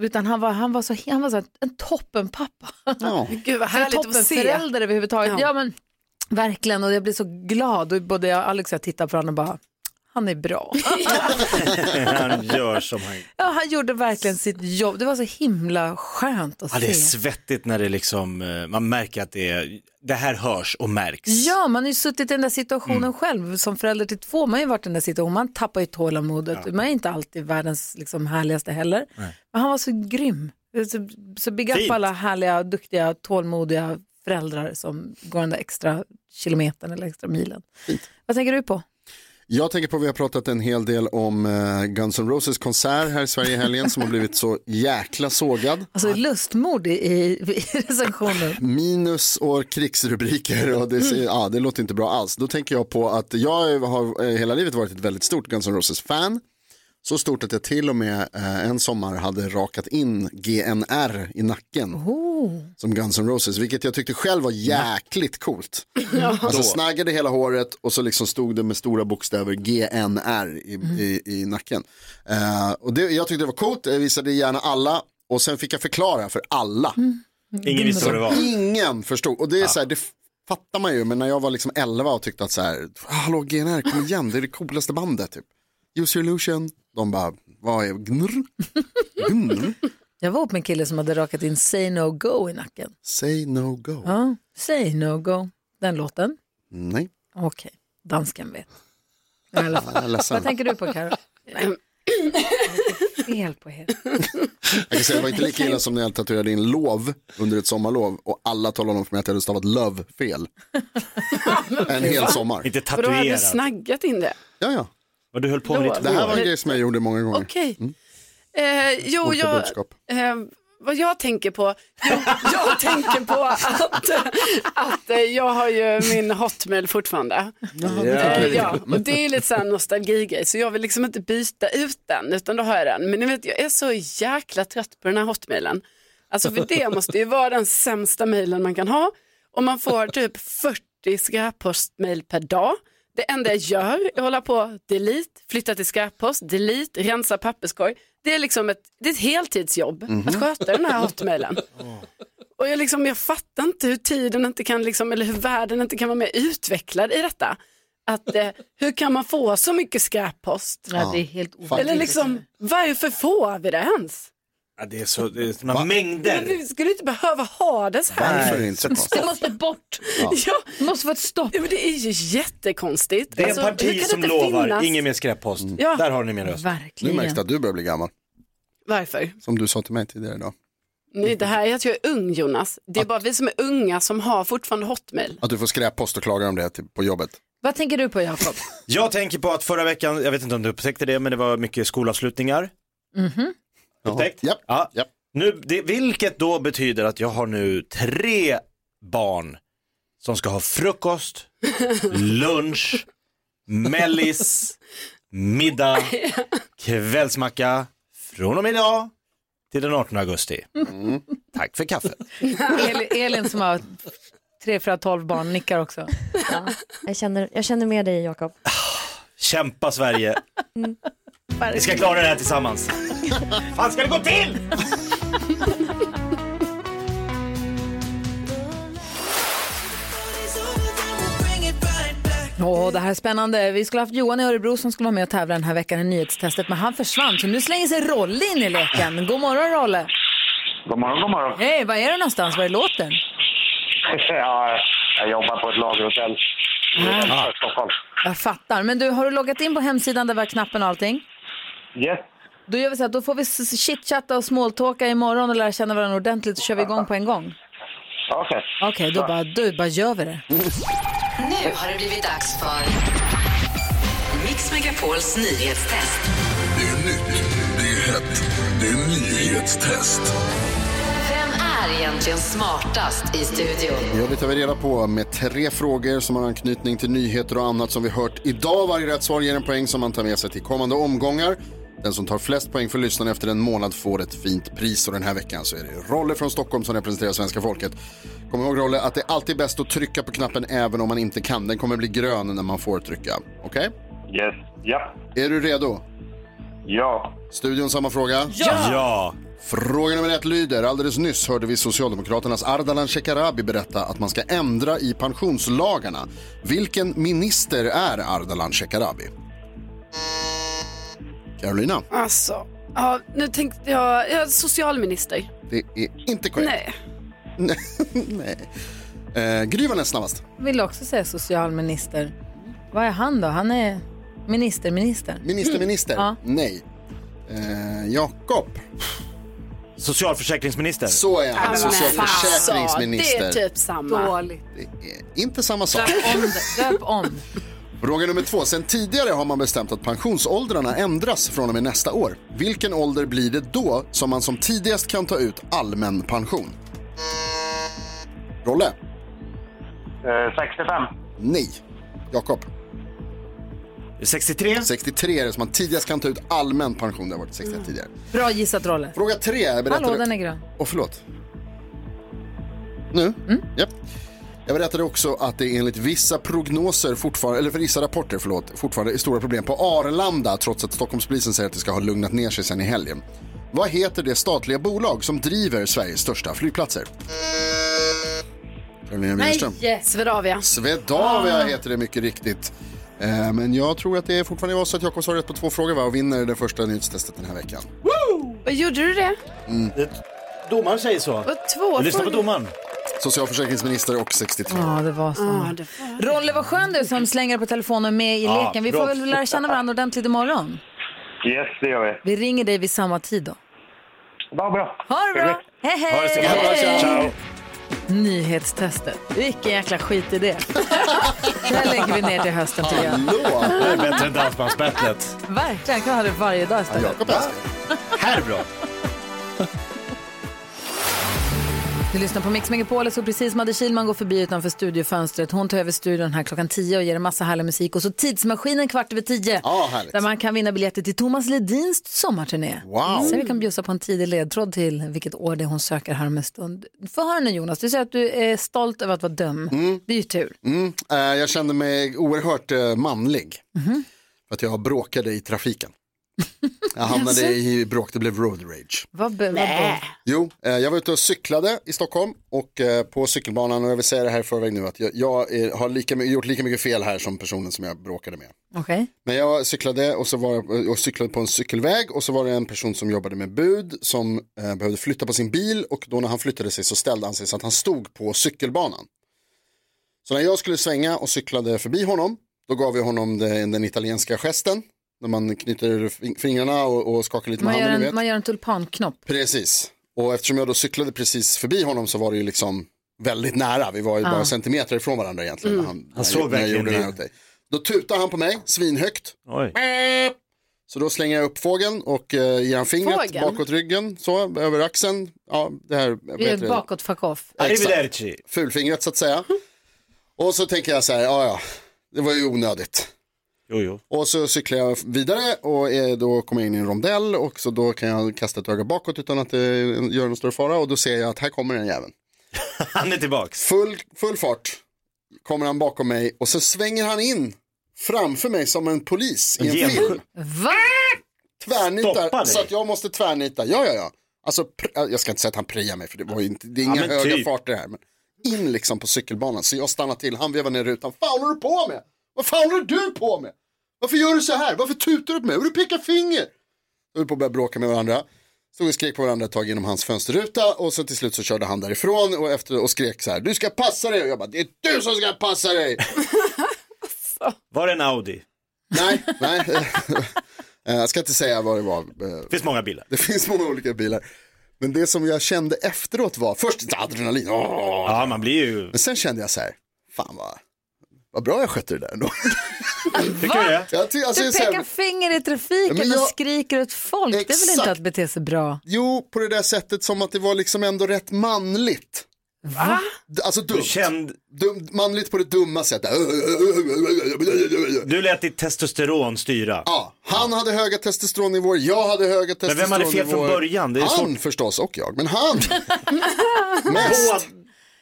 [SPEAKER 1] utan han var, han var, så, han var så här, en toppenpappa.
[SPEAKER 2] Ja.
[SPEAKER 4] Gud vad
[SPEAKER 1] Härligt
[SPEAKER 4] härligt att se.
[SPEAKER 1] toppenförälder överhuvudtaget. Ja.
[SPEAKER 4] Ja.
[SPEAKER 1] men verkligen och jag blir så glad och både jag och Alex och jag tittar på honom och bara han är bra.
[SPEAKER 3] Han gör som han...
[SPEAKER 1] Ja, han gjorde verkligen sitt jobb. Det var så himla skönt att
[SPEAKER 3] Ja, det är
[SPEAKER 1] se.
[SPEAKER 3] svettigt när det liksom, eh, man märker att det, är, det här hörs och märks.
[SPEAKER 1] Ja, man har ju suttit i den där situationen
[SPEAKER 3] Mm.
[SPEAKER 1] själv. Som förälder till två, man har ju varit i den där situationen. Man tappar ju tålamodet. Man är inte alltid världens liksom, härligaste heller. Men han var så grym. Så, så big up
[SPEAKER 3] Fint.
[SPEAKER 1] alla härliga, duktiga, tålmodiga föräldrar som går den där extra kilometern eller extra milen. Vad tänker du på?
[SPEAKER 2] Jag tänker på, vi har pratat en hel del om eh, Guns N' Roses konsert här i Sverige i helgen som har blivit så jäkla sågad.
[SPEAKER 1] Alltså lustmord i, i, i recensionen.
[SPEAKER 2] Minus och krigsrubriker och det, ser- ja, det låter inte bra alls. Då tänker jag på att jag har eh, hela livet varit ett väldigt stort Guns N' Roses-fan. Så stort att jag till och med eh, en sommar hade rakat in GNR i nacken. Som Guns N' Roses, vilket jag tyckte själv var jäkligt coolt. Alltså snaggade hela håret och så liksom stod det med stora bokstäver GNR i, i, i nacken. Eh, och det, jag tyckte det var coolt, jag visade gärna alla och sen fick jag förklara för alla.
[SPEAKER 3] Ingen visste vad det var.
[SPEAKER 2] Ingen förstod. Och det är så här, det fattar man ju, men när jag var liksom 11 och tyckte att så här, hallå GNR, kom igen, det är det coolaste bandet typ. Use your illusion, de bara, vad är gnr? Gnr?
[SPEAKER 1] Jag var ihop med en kille som hade rakat in Say No Go i nacken.
[SPEAKER 2] Say no go.
[SPEAKER 1] Ja, Say No Go, den låten.
[SPEAKER 2] Nej,
[SPEAKER 1] Okej, dansken vet. I alla fall.
[SPEAKER 2] jag är ledsen.
[SPEAKER 1] Vad tänker du på Karo? Fel på er.
[SPEAKER 2] Jag kan säga, det var inte lika illa som när jag tatuerade in lov under ett sommarlov och alla talade om för mig att jag hade stavat love fel. en hel sommar.
[SPEAKER 3] Inte
[SPEAKER 4] För då hade du
[SPEAKER 3] tatuerat.
[SPEAKER 4] snaggat in det.
[SPEAKER 2] Ja, ja.
[SPEAKER 3] Vad du höll på med ditt
[SPEAKER 2] Det här
[SPEAKER 3] hår.
[SPEAKER 2] var en grej som jag gjorde många gånger.
[SPEAKER 4] Okej. Eh, jo,
[SPEAKER 2] Mm. Olika
[SPEAKER 4] jag,
[SPEAKER 2] budskap.
[SPEAKER 4] eh, vad jag tänker på, jo, jag tänker på att, att eh, jag har ju min hotmail fortfarande. Eh, ja, och det är lite så här nostalgigrej så jag vill liksom inte byta ut den utan då har jag den. Men ni vet jag är så jäkla trött på den här hotmailen. Alltså för det måste ju vara den sämsta mailen man kan ha och man får typ 40 skräppostmail per dag. Det enda jag gör är att hålla på delete, flytta till skräppost, delete, rensa papperskorg. Det är liksom ett, det är ett heltidsjobb att sköta den här hotmailen. Och jag, liksom, jag fattar inte hur tiden inte kan, liksom, eller hur världen inte kan vara mer utvecklad i detta. Att, eh, hur kan man få så mycket skräppost?
[SPEAKER 1] Ja, det är helt ofattbart.
[SPEAKER 4] Eller liksom, varför får vi det ens?
[SPEAKER 3] Ja, det är så, det är såna mängder.
[SPEAKER 4] Vi skulle inte behöva ha det så här.
[SPEAKER 2] Varför inte?
[SPEAKER 1] Det måste bort.
[SPEAKER 4] Ja,
[SPEAKER 1] Det måste få ett stopp.
[SPEAKER 4] ja, men det är ju jättekonstigt.
[SPEAKER 3] Det är
[SPEAKER 4] Alltså,
[SPEAKER 3] en
[SPEAKER 4] hur
[SPEAKER 3] parti
[SPEAKER 4] kan
[SPEAKER 3] som
[SPEAKER 4] det inte
[SPEAKER 3] lovar,
[SPEAKER 4] finnas?
[SPEAKER 3] ingen mer skräppost.
[SPEAKER 4] Ja.
[SPEAKER 3] Där har ni min röst.
[SPEAKER 2] Nu
[SPEAKER 1] Verkligen.
[SPEAKER 2] märks det att du börjar bli gammal,
[SPEAKER 4] Varför?
[SPEAKER 2] som du sa till mig tidigare idag.
[SPEAKER 4] Nej, det här är att jag är ung Jonas. Det är bara vi som är unga som har fortfarande hotmail.
[SPEAKER 2] Att du får skräppost och klaga om det typ, på jobbet.
[SPEAKER 1] Vad tänker du på Jakob?
[SPEAKER 3] Jag tänker på att förra veckan, jag vet inte om du upptäckte det, men det var mycket skolavslutningar.
[SPEAKER 1] Mhm.
[SPEAKER 3] Upptäckt?
[SPEAKER 2] Japp.
[SPEAKER 3] Ja.
[SPEAKER 2] Japp.
[SPEAKER 3] Nu, det, vilket då betyder att jag har nu tre barn som ska ha frukost, lunch, mellis, middag, kvällsmacka från och med idag till den 18 augusti. Tack för kaffet.
[SPEAKER 1] Elin, Elin som har tre, fyra, tolv barn nickar också.
[SPEAKER 10] Jag känner, jag känner med dig Jakob.
[SPEAKER 3] Kämpa Sverige. Vi ska klara det här tillsammans. fan ska det gå till?
[SPEAKER 1] Åh, det här är spännande. Vi skulle haft Johan i Örebro som skulle vara med och tävla den här veckan i nyhetstestet, men han försvann. Så nu slänger sig Rolle in i leken. God morgon Rolle.
[SPEAKER 7] God morgon, god morgon.
[SPEAKER 1] Hej, var är du någonstans? Var är låten?
[SPEAKER 7] ja, jag jobbar på ett lagerhotell i Stockholm.
[SPEAKER 1] Jag fattar. Men du, har du loggat in på hemsidan där vi har knappen och allting?
[SPEAKER 7] Yes.
[SPEAKER 1] Då gör vi så här, då får vi s- chitchatta och småtalka imorgon och lära känna varandra ordentligt så kör vi igång på en gång.
[SPEAKER 7] Okej.
[SPEAKER 1] Okej, då, bara, då bara gör vi det.
[SPEAKER 6] Nu har det blivit dags för Mix Megapols nyhetstest. Vem är egentligen smartast i studion?
[SPEAKER 2] Ja, det tar vi reda på med tre frågor som har anknytning till nyheter och annat som vi hört idag. Varje rätt svar ger en poäng som man tar med sig till kommande omgångar. Den som tar flest poäng för lyssnarna efter en månad får ett fint pris och den här veckan så är det Rolle från Stockholm som representerar svenska folket. Kom ihåg Rolle att det alltid är bäst att trycka på knappen även om man inte kan. Den kommer bli grön när man får trycka. Okej?
[SPEAKER 7] Yes. Ja.
[SPEAKER 2] Är du redo?
[SPEAKER 7] Ja.
[SPEAKER 2] Studion samma fråga.
[SPEAKER 3] ja.
[SPEAKER 2] Fråga nummer ett lyder, alldeles nyss hörde vi Socialdemokraternas Ardalan Shekarabi berätta att man ska ändra i pensionslagarna. Vilken minister är Ardalan Shekarabi? Carolina,
[SPEAKER 4] Alltså, ja, nu tänkte jag, jag är socialminister.
[SPEAKER 2] det är inte korrekt.
[SPEAKER 4] Nej,
[SPEAKER 2] Nej. Eh, Gry var näst snabbast.
[SPEAKER 1] Vill också säga socialminister. Vad är han då? Han är minister, minister.
[SPEAKER 2] Minister, minister.
[SPEAKER 1] Ja.
[SPEAKER 2] Nej. Eh, Jakob.
[SPEAKER 3] Socialförsäkringsminister.
[SPEAKER 2] Så är han.
[SPEAKER 4] alltså, det
[SPEAKER 2] Socialförsäkringsminister.
[SPEAKER 4] är typ samma.
[SPEAKER 2] Det är inte samma Eh, sak.
[SPEAKER 1] Döp om. det. Döp om.
[SPEAKER 2] Fråga nummer två. Sen tidigare har man bestämt att pensionsåldrarna ändras från och med nästa år. Vilken ålder blir det då som man som tidigast kan ta ut allmän pension? Rolle?
[SPEAKER 11] Eh, 65.
[SPEAKER 2] Nej. Jakob?
[SPEAKER 3] 63?
[SPEAKER 2] 63 är det som man tidigast kan ta ut allmän pension. Det har varit 61 tidigare.
[SPEAKER 1] Bra gissat Rolle.
[SPEAKER 2] Fråga tre. Jag berättade...
[SPEAKER 1] Mm. Hallå, den är grön.
[SPEAKER 2] Och förlåt. Nu? Japp. Jag berättade också att det enligt vissa prognoser fortfarande, eller för vissa rapporter förlåt, fortfarande är stora problem på Arlanda trots att Stockholmspolisen säger att det ska ha lugnat ner sig sen i helgen. Vad heter det statliga bolag som driver Sveriges största flygplatser? Carolina Widerström.
[SPEAKER 4] Swedavia.
[SPEAKER 2] Swedavia
[SPEAKER 4] Ah.
[SPEAKER 2] heter det mycket riktigt. Eh, Men jag tror att det är fortfarande var så att Jakob svarar rätt på två frågor va? och vinner det första nyhetstestet den här veckan.
[SPEAKER 4] Vad gjorde du det?
[SPEAKER 2] Mm.
[SPEAKER 3] Domaren säger så.
[SPEAKER 4] Vad två frågor?
[SPEAKER 3] domaren.
[SPEAKER 2] Socialförsäkringsminister och 63.
[SPEAKER 1] Ja, det var så. Rolle, vad skön du som slänger på telefonen och är med i
[SPEAKER 2] Ja,
[SPEAKER 1] leken. Vi
[SPEAKER 2] bra.
[SPEAKER 1] får väl lära känna varandra ordentligt imorgon.
[SPEAKER 11] Yes, det gör vi.
[SPEAKER 1] Vi ringer dig vid samma tid då.
[SPEAKER 11] Vad bra.
[SPEAKER 1] Ha det bra! Hej, hej!
[SPEAKER 11] Ha det så bra. Hej. Ciao.
[SPEAKER 1] Nyhetstestet. Vilken jäkla skit i det. det här lägger vi ner till hösten tycker jag.
[SPEAKER 3] Det är bättre än dansbandsbattlet.
[SPEAKER 1] Verkligen, jag kan ha det varje dag istället.
[SPEAKER 3] Här är bra.
[SPEAKER 1] Du lyssnar på Mix Megapol och så precis Madde Kilman går förbi utanför studiofönstret. Hon tar över studion här klockan 10 och ger en massa härlig musik. Och så tidsmaskinen kvart över 10.
[SPEAKER 2] Ja, härligt.
[SPEAKER 1] Där man kan vinna biljetter till Thomas Ledins sommarturné.
[SPEAKER 2] Wow.
[SPEAKER 1] Så vi kan bjussa på en tidig ledtråd till vilket år det är hon söker här om en stund. Få höra nu Jonas, du säger att du är stolt över att vara döm. Det är ju tur.
[SPEAKER 2] Mm. eh, Jag kände mig oerhört eh, manlig. För att jag bråkade i trafiken. Jag
[SPEAKER 1] Alltså?
[SPEAKER 2] hamnade i bråk, det blev road rage.
[SPEAKER 1] Vad, be- vad be-
[SPEAKER 2] Jo, eh, jag var ute och cyklade i Stockholm och eh, på cykelbanan och jag vill säga det här i förväg nu att jag, jag eh, har lika, my- gjort lika mycket fel här som personen som jag bråkade med.
[SPEAKER 1] Okej.
[SPEAKER 2] Men jag cyklade och så var jag, och cyklade på en cykelväg och så var det en person som jobbade med bud som eh, behövde flytta på sin bil och då när han flyttade sig så ställde han sig så att han stod på cykelbanan. Så när jag skulle svänga och cyklade förbi honom då gav jag honom den, den italienska gesten när man knyter fing- fingrarna och, och skakar lite med
[SPEAKER 1] Man, gör
[SPEAKER 2] handen. ni vet.
[SPEAKER 1] en, man gör en tulpanknopp.
[SPEAKER 2] Precis. Och eftersom jag då cyklade precis förbi honom så var det ju liksom väldigt nära. Vi var ju
[SPEAKER 1] Ja.
[SPEAKER 2] bara centimeter ifrån varandra egentligen.
[SPEAKER 1] Ah. Mm.
[SPEAKER 2] När han,
[SPEAKER 3] Han såg
[SPEAKER 2] när jag
[SPEAKER 3] verkligen
[SPEAKER 2] gjorde det här
[SPEAKER 3] det.
[SPEAKER 2] åt dig. Då tutar han på mig, svinhögt.
[SPEAKER 3] Oj.
[SPEAKER 2] Så då slänger jag upp fågeln och eh, ger han fingret
[SPEAKER 1] Fågeln?
[SPEAKER 2] bakåt ryggen, så, över axeln. Ja, det här, vad
[SPEAKER 1] Vi gör
[SPEAKER 2] heter det?
[SPEAKER 1] bakåt fuck off.
[SPEAKER 3] Arrivederci.
[SPEAKER 2] Fulfingret så att säga. Och så tänker jag så här, ja ja, det var ju onödigt. Och så cyklar jag vidare och eh, då kommer jag in i en rondell och så då kan jag kasta ett öga bakåt utan att det gör någon större fara och då ser jag att här kommer den jäveln.
[SPEAKER 3] Han är tillbaks.
[SPEAKER 2] Full, full fart kommer han bakom mig och så svänger han in framför mig som en polis i en
[SPEAKER 3] Gen-
[SPEAKER 2] film.
[SPEAKER 1] Va?
[SPEAKER 3] Stoppa
[SPEAKER 2] Tvärnitar
[SPEAKER 3] dig.
[SPEAKER 2] så att jag måste tvärnita. Ja, ja, ja. Alltså, pr- jag ska inte säga att han prejar mig för det, var ju inte, det är inga
[SPEAKER 3] men
[SPEAKER 2] höga
[SPEAKER 3] typ.
[SPEAKER 2] farter här. Men in liksom på cykelbanan så jag stannar till, han vevar ner rutan. Fan håller du på med? Vad fan håller du på med? Varför gör du så här? Varför tutar du på mig? Och du pekar finger? Då höll på att börja bråka med varandra. Stod och skrek på varandra ett tag genom hans fönsterruta och så till slut så körde han därifrån och, efter, och skrek så här. Du ska passa dig! Och jag bara, det är du som ska passa dig!
[SPEAKER 3] Var det en Audi?
[SPEAKER 2] nej, nej. Eh, Jag ska inte säga vad det var. eh,
[SPEAKER 3] Det finns många bilar.
[SPEAKER 2] det finns många olika bilar. Men det som jag kände efteråt var först lite adrenalin. Åh!
[SPEAKER 3] Ja, man blir ju...
[SPEAKER 2] Men sen kände jag så här, fan vad, vad bra jag skötte det där ändå.
[SPEAKER 3] Tycker du det?
[SPEAKER 2] Jag ty- alltså,
[SPEAKER 1] du
[SPEAKER 2] jag säger-
[SPEAKER 1] pekar finger i trafiken
[SPEAKER 2] Ja, men jag-
[SPEAKER 1] och skriker åt folk. Det är väl inte
[SPEAKER 2] Exakt.
[SPEAKER 1] att bete sig bra?
[SPEAKER 2] Jo, på det där sättet som att det var liksom ändå rätt manligt.
[SPEAKER 1] Va?
[SPEAKER 2] D- Alltså dumt.
[SPEAKER 3] kände-
[SPEAKER 2] Dum, manligt på det dumma sättet.
[SPEAKER 3] Du lät ditt testosteron styra.
[SPEAKER 2] Ja, han hade höga testosteronnivåer, jag hade höga
[SPEAKER 3] Men vem
[SPEAKER 2] testosteronnivåer.
[SPEAKER 3] hade fel från början? Det är
[SPEAKER 2] han
[SPEAKER 3] svårt.
[SPEAKER 2] förstås och jag, men han.
[SPEAKER 3] Mest.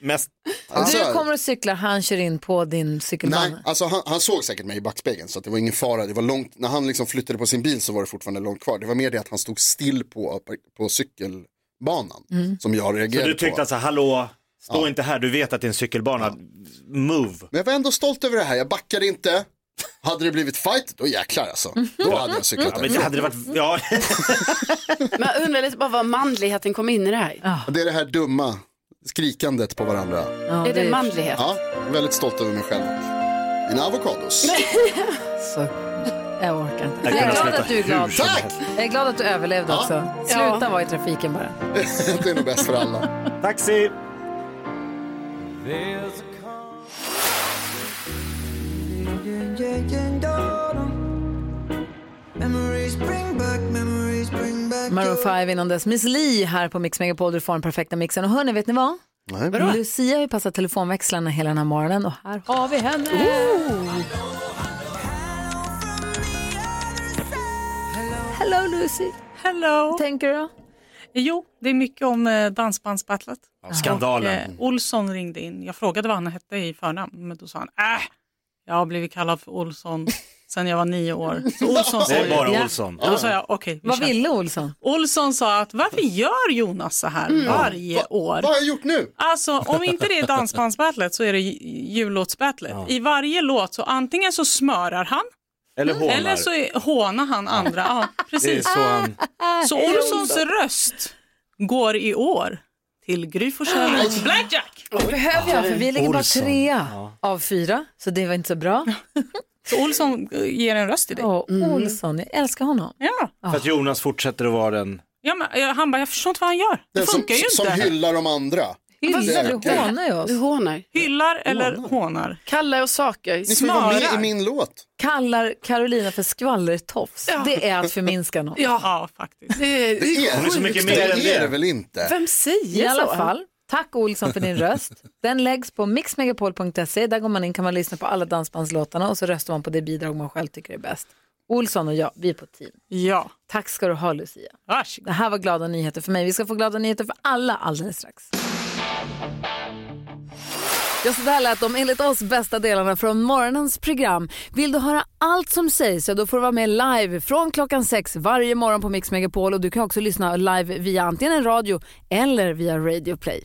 [SPEAKER 3] Mest.
[SPEAKER 2] Alltså,
[SPEAKER 1] du kommer och cyklar, han kör in på din cykelbana.
[SPEAKER 2] Nej, alltså han, han såg säkert mig i backspegeln så att det var ingen fara. Det var långt, när han liksom flyttade på sin bil så var det fortfarande långt kvar. Det var mer det att han stod still på, på cykelbanan
[SPEAKER 12] Mm.
[SPEAKER 2] som jag
[SPEAKER 3] Så
[SPEAKER 2] reagerade
[SPEAKER 3] du tyckte
[SPEAKER 2] på.
[SPEAKER 3] alltså, hallå, stå inte här, du vet att det är en cykelbana. Move.
[SPEAKER 2] Men jag var ändå stolt över det här, jag backade inte. Hade det blivit fight, då jäklar alltså. Då hade jag cyklat
[SPEAKER 3] Ja, men
[SPEAKER 2] därifrån.
[SPEAKER 3] hade det varit, ja,
[SPEAKER 4] Men jag undrar lite bara var manligheten kom in i det här.
[SPEAKER 2] Det är det här dumma skrikandet på varandra.
[SPEAKER 4] är det, manlighet?
[SPEAKER 2] Ja, jag är väldigt stolt över mig själv. Mina avokados.
[SPEAKER 1] Så, jag orkar inte.
[SPEAKER 2] Jag
[SPEAKER 1] Jag är
[SPEAKER 2] kunde
[SPEAKER 1] glad
[SPEAKER 2] sluta
[SPEAKER 1] att du är
[SPEAKER 2] hur
[SPEAKER 1] glad.
[SPEAKER 2] som helst.
[SPEAKER 1] Jag är glad att du överlevde
[SPEAKER 2] Ja.
[SPEAKER 1] också. Sluta vara i trafiken bara.
[SPEAKER 2] det är nog bäst för alla.
[SPEAKER 3] Taxi!
[SPEAKER 8] There's a
[SPEAKER 13] Legend autumn. Memories bring back, memories bring back.
[SPEAKER 1] Maroon 5 innan dess. Miss Li här på Mix Megapol, du får den perfekta mixen. Och hörni, vet ni vad?
[SPEAKER 2] Nej.
[SPEAKER 1] Lucia har ju passat telefonväxlarna hela den här morgonen och här har vi henne. Hello Lucy.
[SPEAKER 12] Hello.
[SPEAKER 1] tänker du då?
[SPEAKER 12] Jo, det är mycket om eh, Dansbandsbattlet.
[SPEAKER 3] Ja, skandalen.
[SPEAKER 12] Och, eh, Olsson ringde in. Jag frågade vad han hette i förnamn, men då sa han äh, jag har blivit kallad för Olsson sedan jag var nio år. Så Olsson
[SPEAKER 3] Det är
[SPEAKER 12] sa ju-
[SPEAKER 3] bara
[SPEAKER 12] Ja.
[SPEAKER 3] Olsson.
[SPEAKER 12] Då sa jag okej. vi
[SPEAKER 1] Vad
[SPEAKER 12] kör."
[SPEAKER 1] ville Olsson?
[SPEAKER 12] Olsson sa att varför gör Jonas så här
[SPEAKER 1] Mm.
[SPEAKER 12] varje
[SPEAKER 1] Va-
[SPEAKER 12] år?
[SPEAKER 2] vad har jag gjort nu?
[SPEAKER 12] Alltså om inte det är dansbandsbattlet så är det ju- jullåtsbattlet. I varje låt så antingen så smörar han
[SPEAKER 3] Eller hånar.
[SPEAKER 12] eller så är, hånar Eh, han andra. Ja,
[SPEAKER 3] Det är
[SPEAKER 12] precis.
[SPEAKER 3] så han...
[SPEAKER 12] Så Olssons röst går i år till Gry Forssell och Blackjack.
[SPEAKER 1] Behöver jag? För vi ligger bara trea av fyra, så det var inte så bra.
[SPEAKER 12] Så Olsson eh, ger en röst till dig.
[SPEAKER 1] Åh, Olsson, jag älskar honom.
[SPEAKER 12] Ja.
[SPEAKER 3] För att Jonas fortsätter att vara den...
[SPEAKER 12] Ja, men, eh, han bara, jag förstår inte vad han gör. Det
[SPEAKER 2] Den som,
[SPEAKER 12] funkar ju inte.
[SPEAKER 2] som hyllar de andra.
[SPEAKER 12] Hyllar, du hånar
[SPEAKER 1] ju oss.
[SPEAKER 4] Du hånar.
[SPEAKER 12] Hyllar eller hånar?
[SPEAKER 4] Kallar och saker.
[SPEAKER 2] Ni får ju vara med i min låt.
[SPEAKER 1] Kallar Carolina för skvallertofs.
[SPEAKER 4] Ja.
[SPEAKER 1] Det är att förminska någon.
[SPEAKER 12] Ja, faktiskt.
[SPEAKER 4] Det är,
[SPEAKER 2] Det är,
[SPEAKER 3] Hon är så mycket
[SPEAKER 2] det
[SPEAKER 3] mer än
[SPEAKER 2] är
[SPEAKER 3] det.
[SPEAKER 2] det väl inte?
[SPEAKER 4] Vem säger
[SPEAKER 1] I alla
[SPEAKER 4] så?
[SPEAKER 1] fall, tack Olsson för din röst. Den läggs på mixmegapol.se. Där går man in kan man lyssna på alla dansbandslåtarna och så röstar man på det bidrag man själv tycker är bäst. Olsson och jag, vi är på team.
[SPEAKER 12] Ja.
[SPEAKER 1] Tack ska du ha Lucia.
[SPEAKER 12] Varsågod.
[SPEAKER 1] Det här var glada nyheter för mig. Vi ska få glada nyheter för alla alldeles strax. Ja, så där lät de enligt oss bästa delarna från morgonens program. Vill du höra allt som sägs så då får du vara med live från klockan sex varje morgon på Mix Megapol och du kan också lyssna live via antingen en radio eller via Radio Play.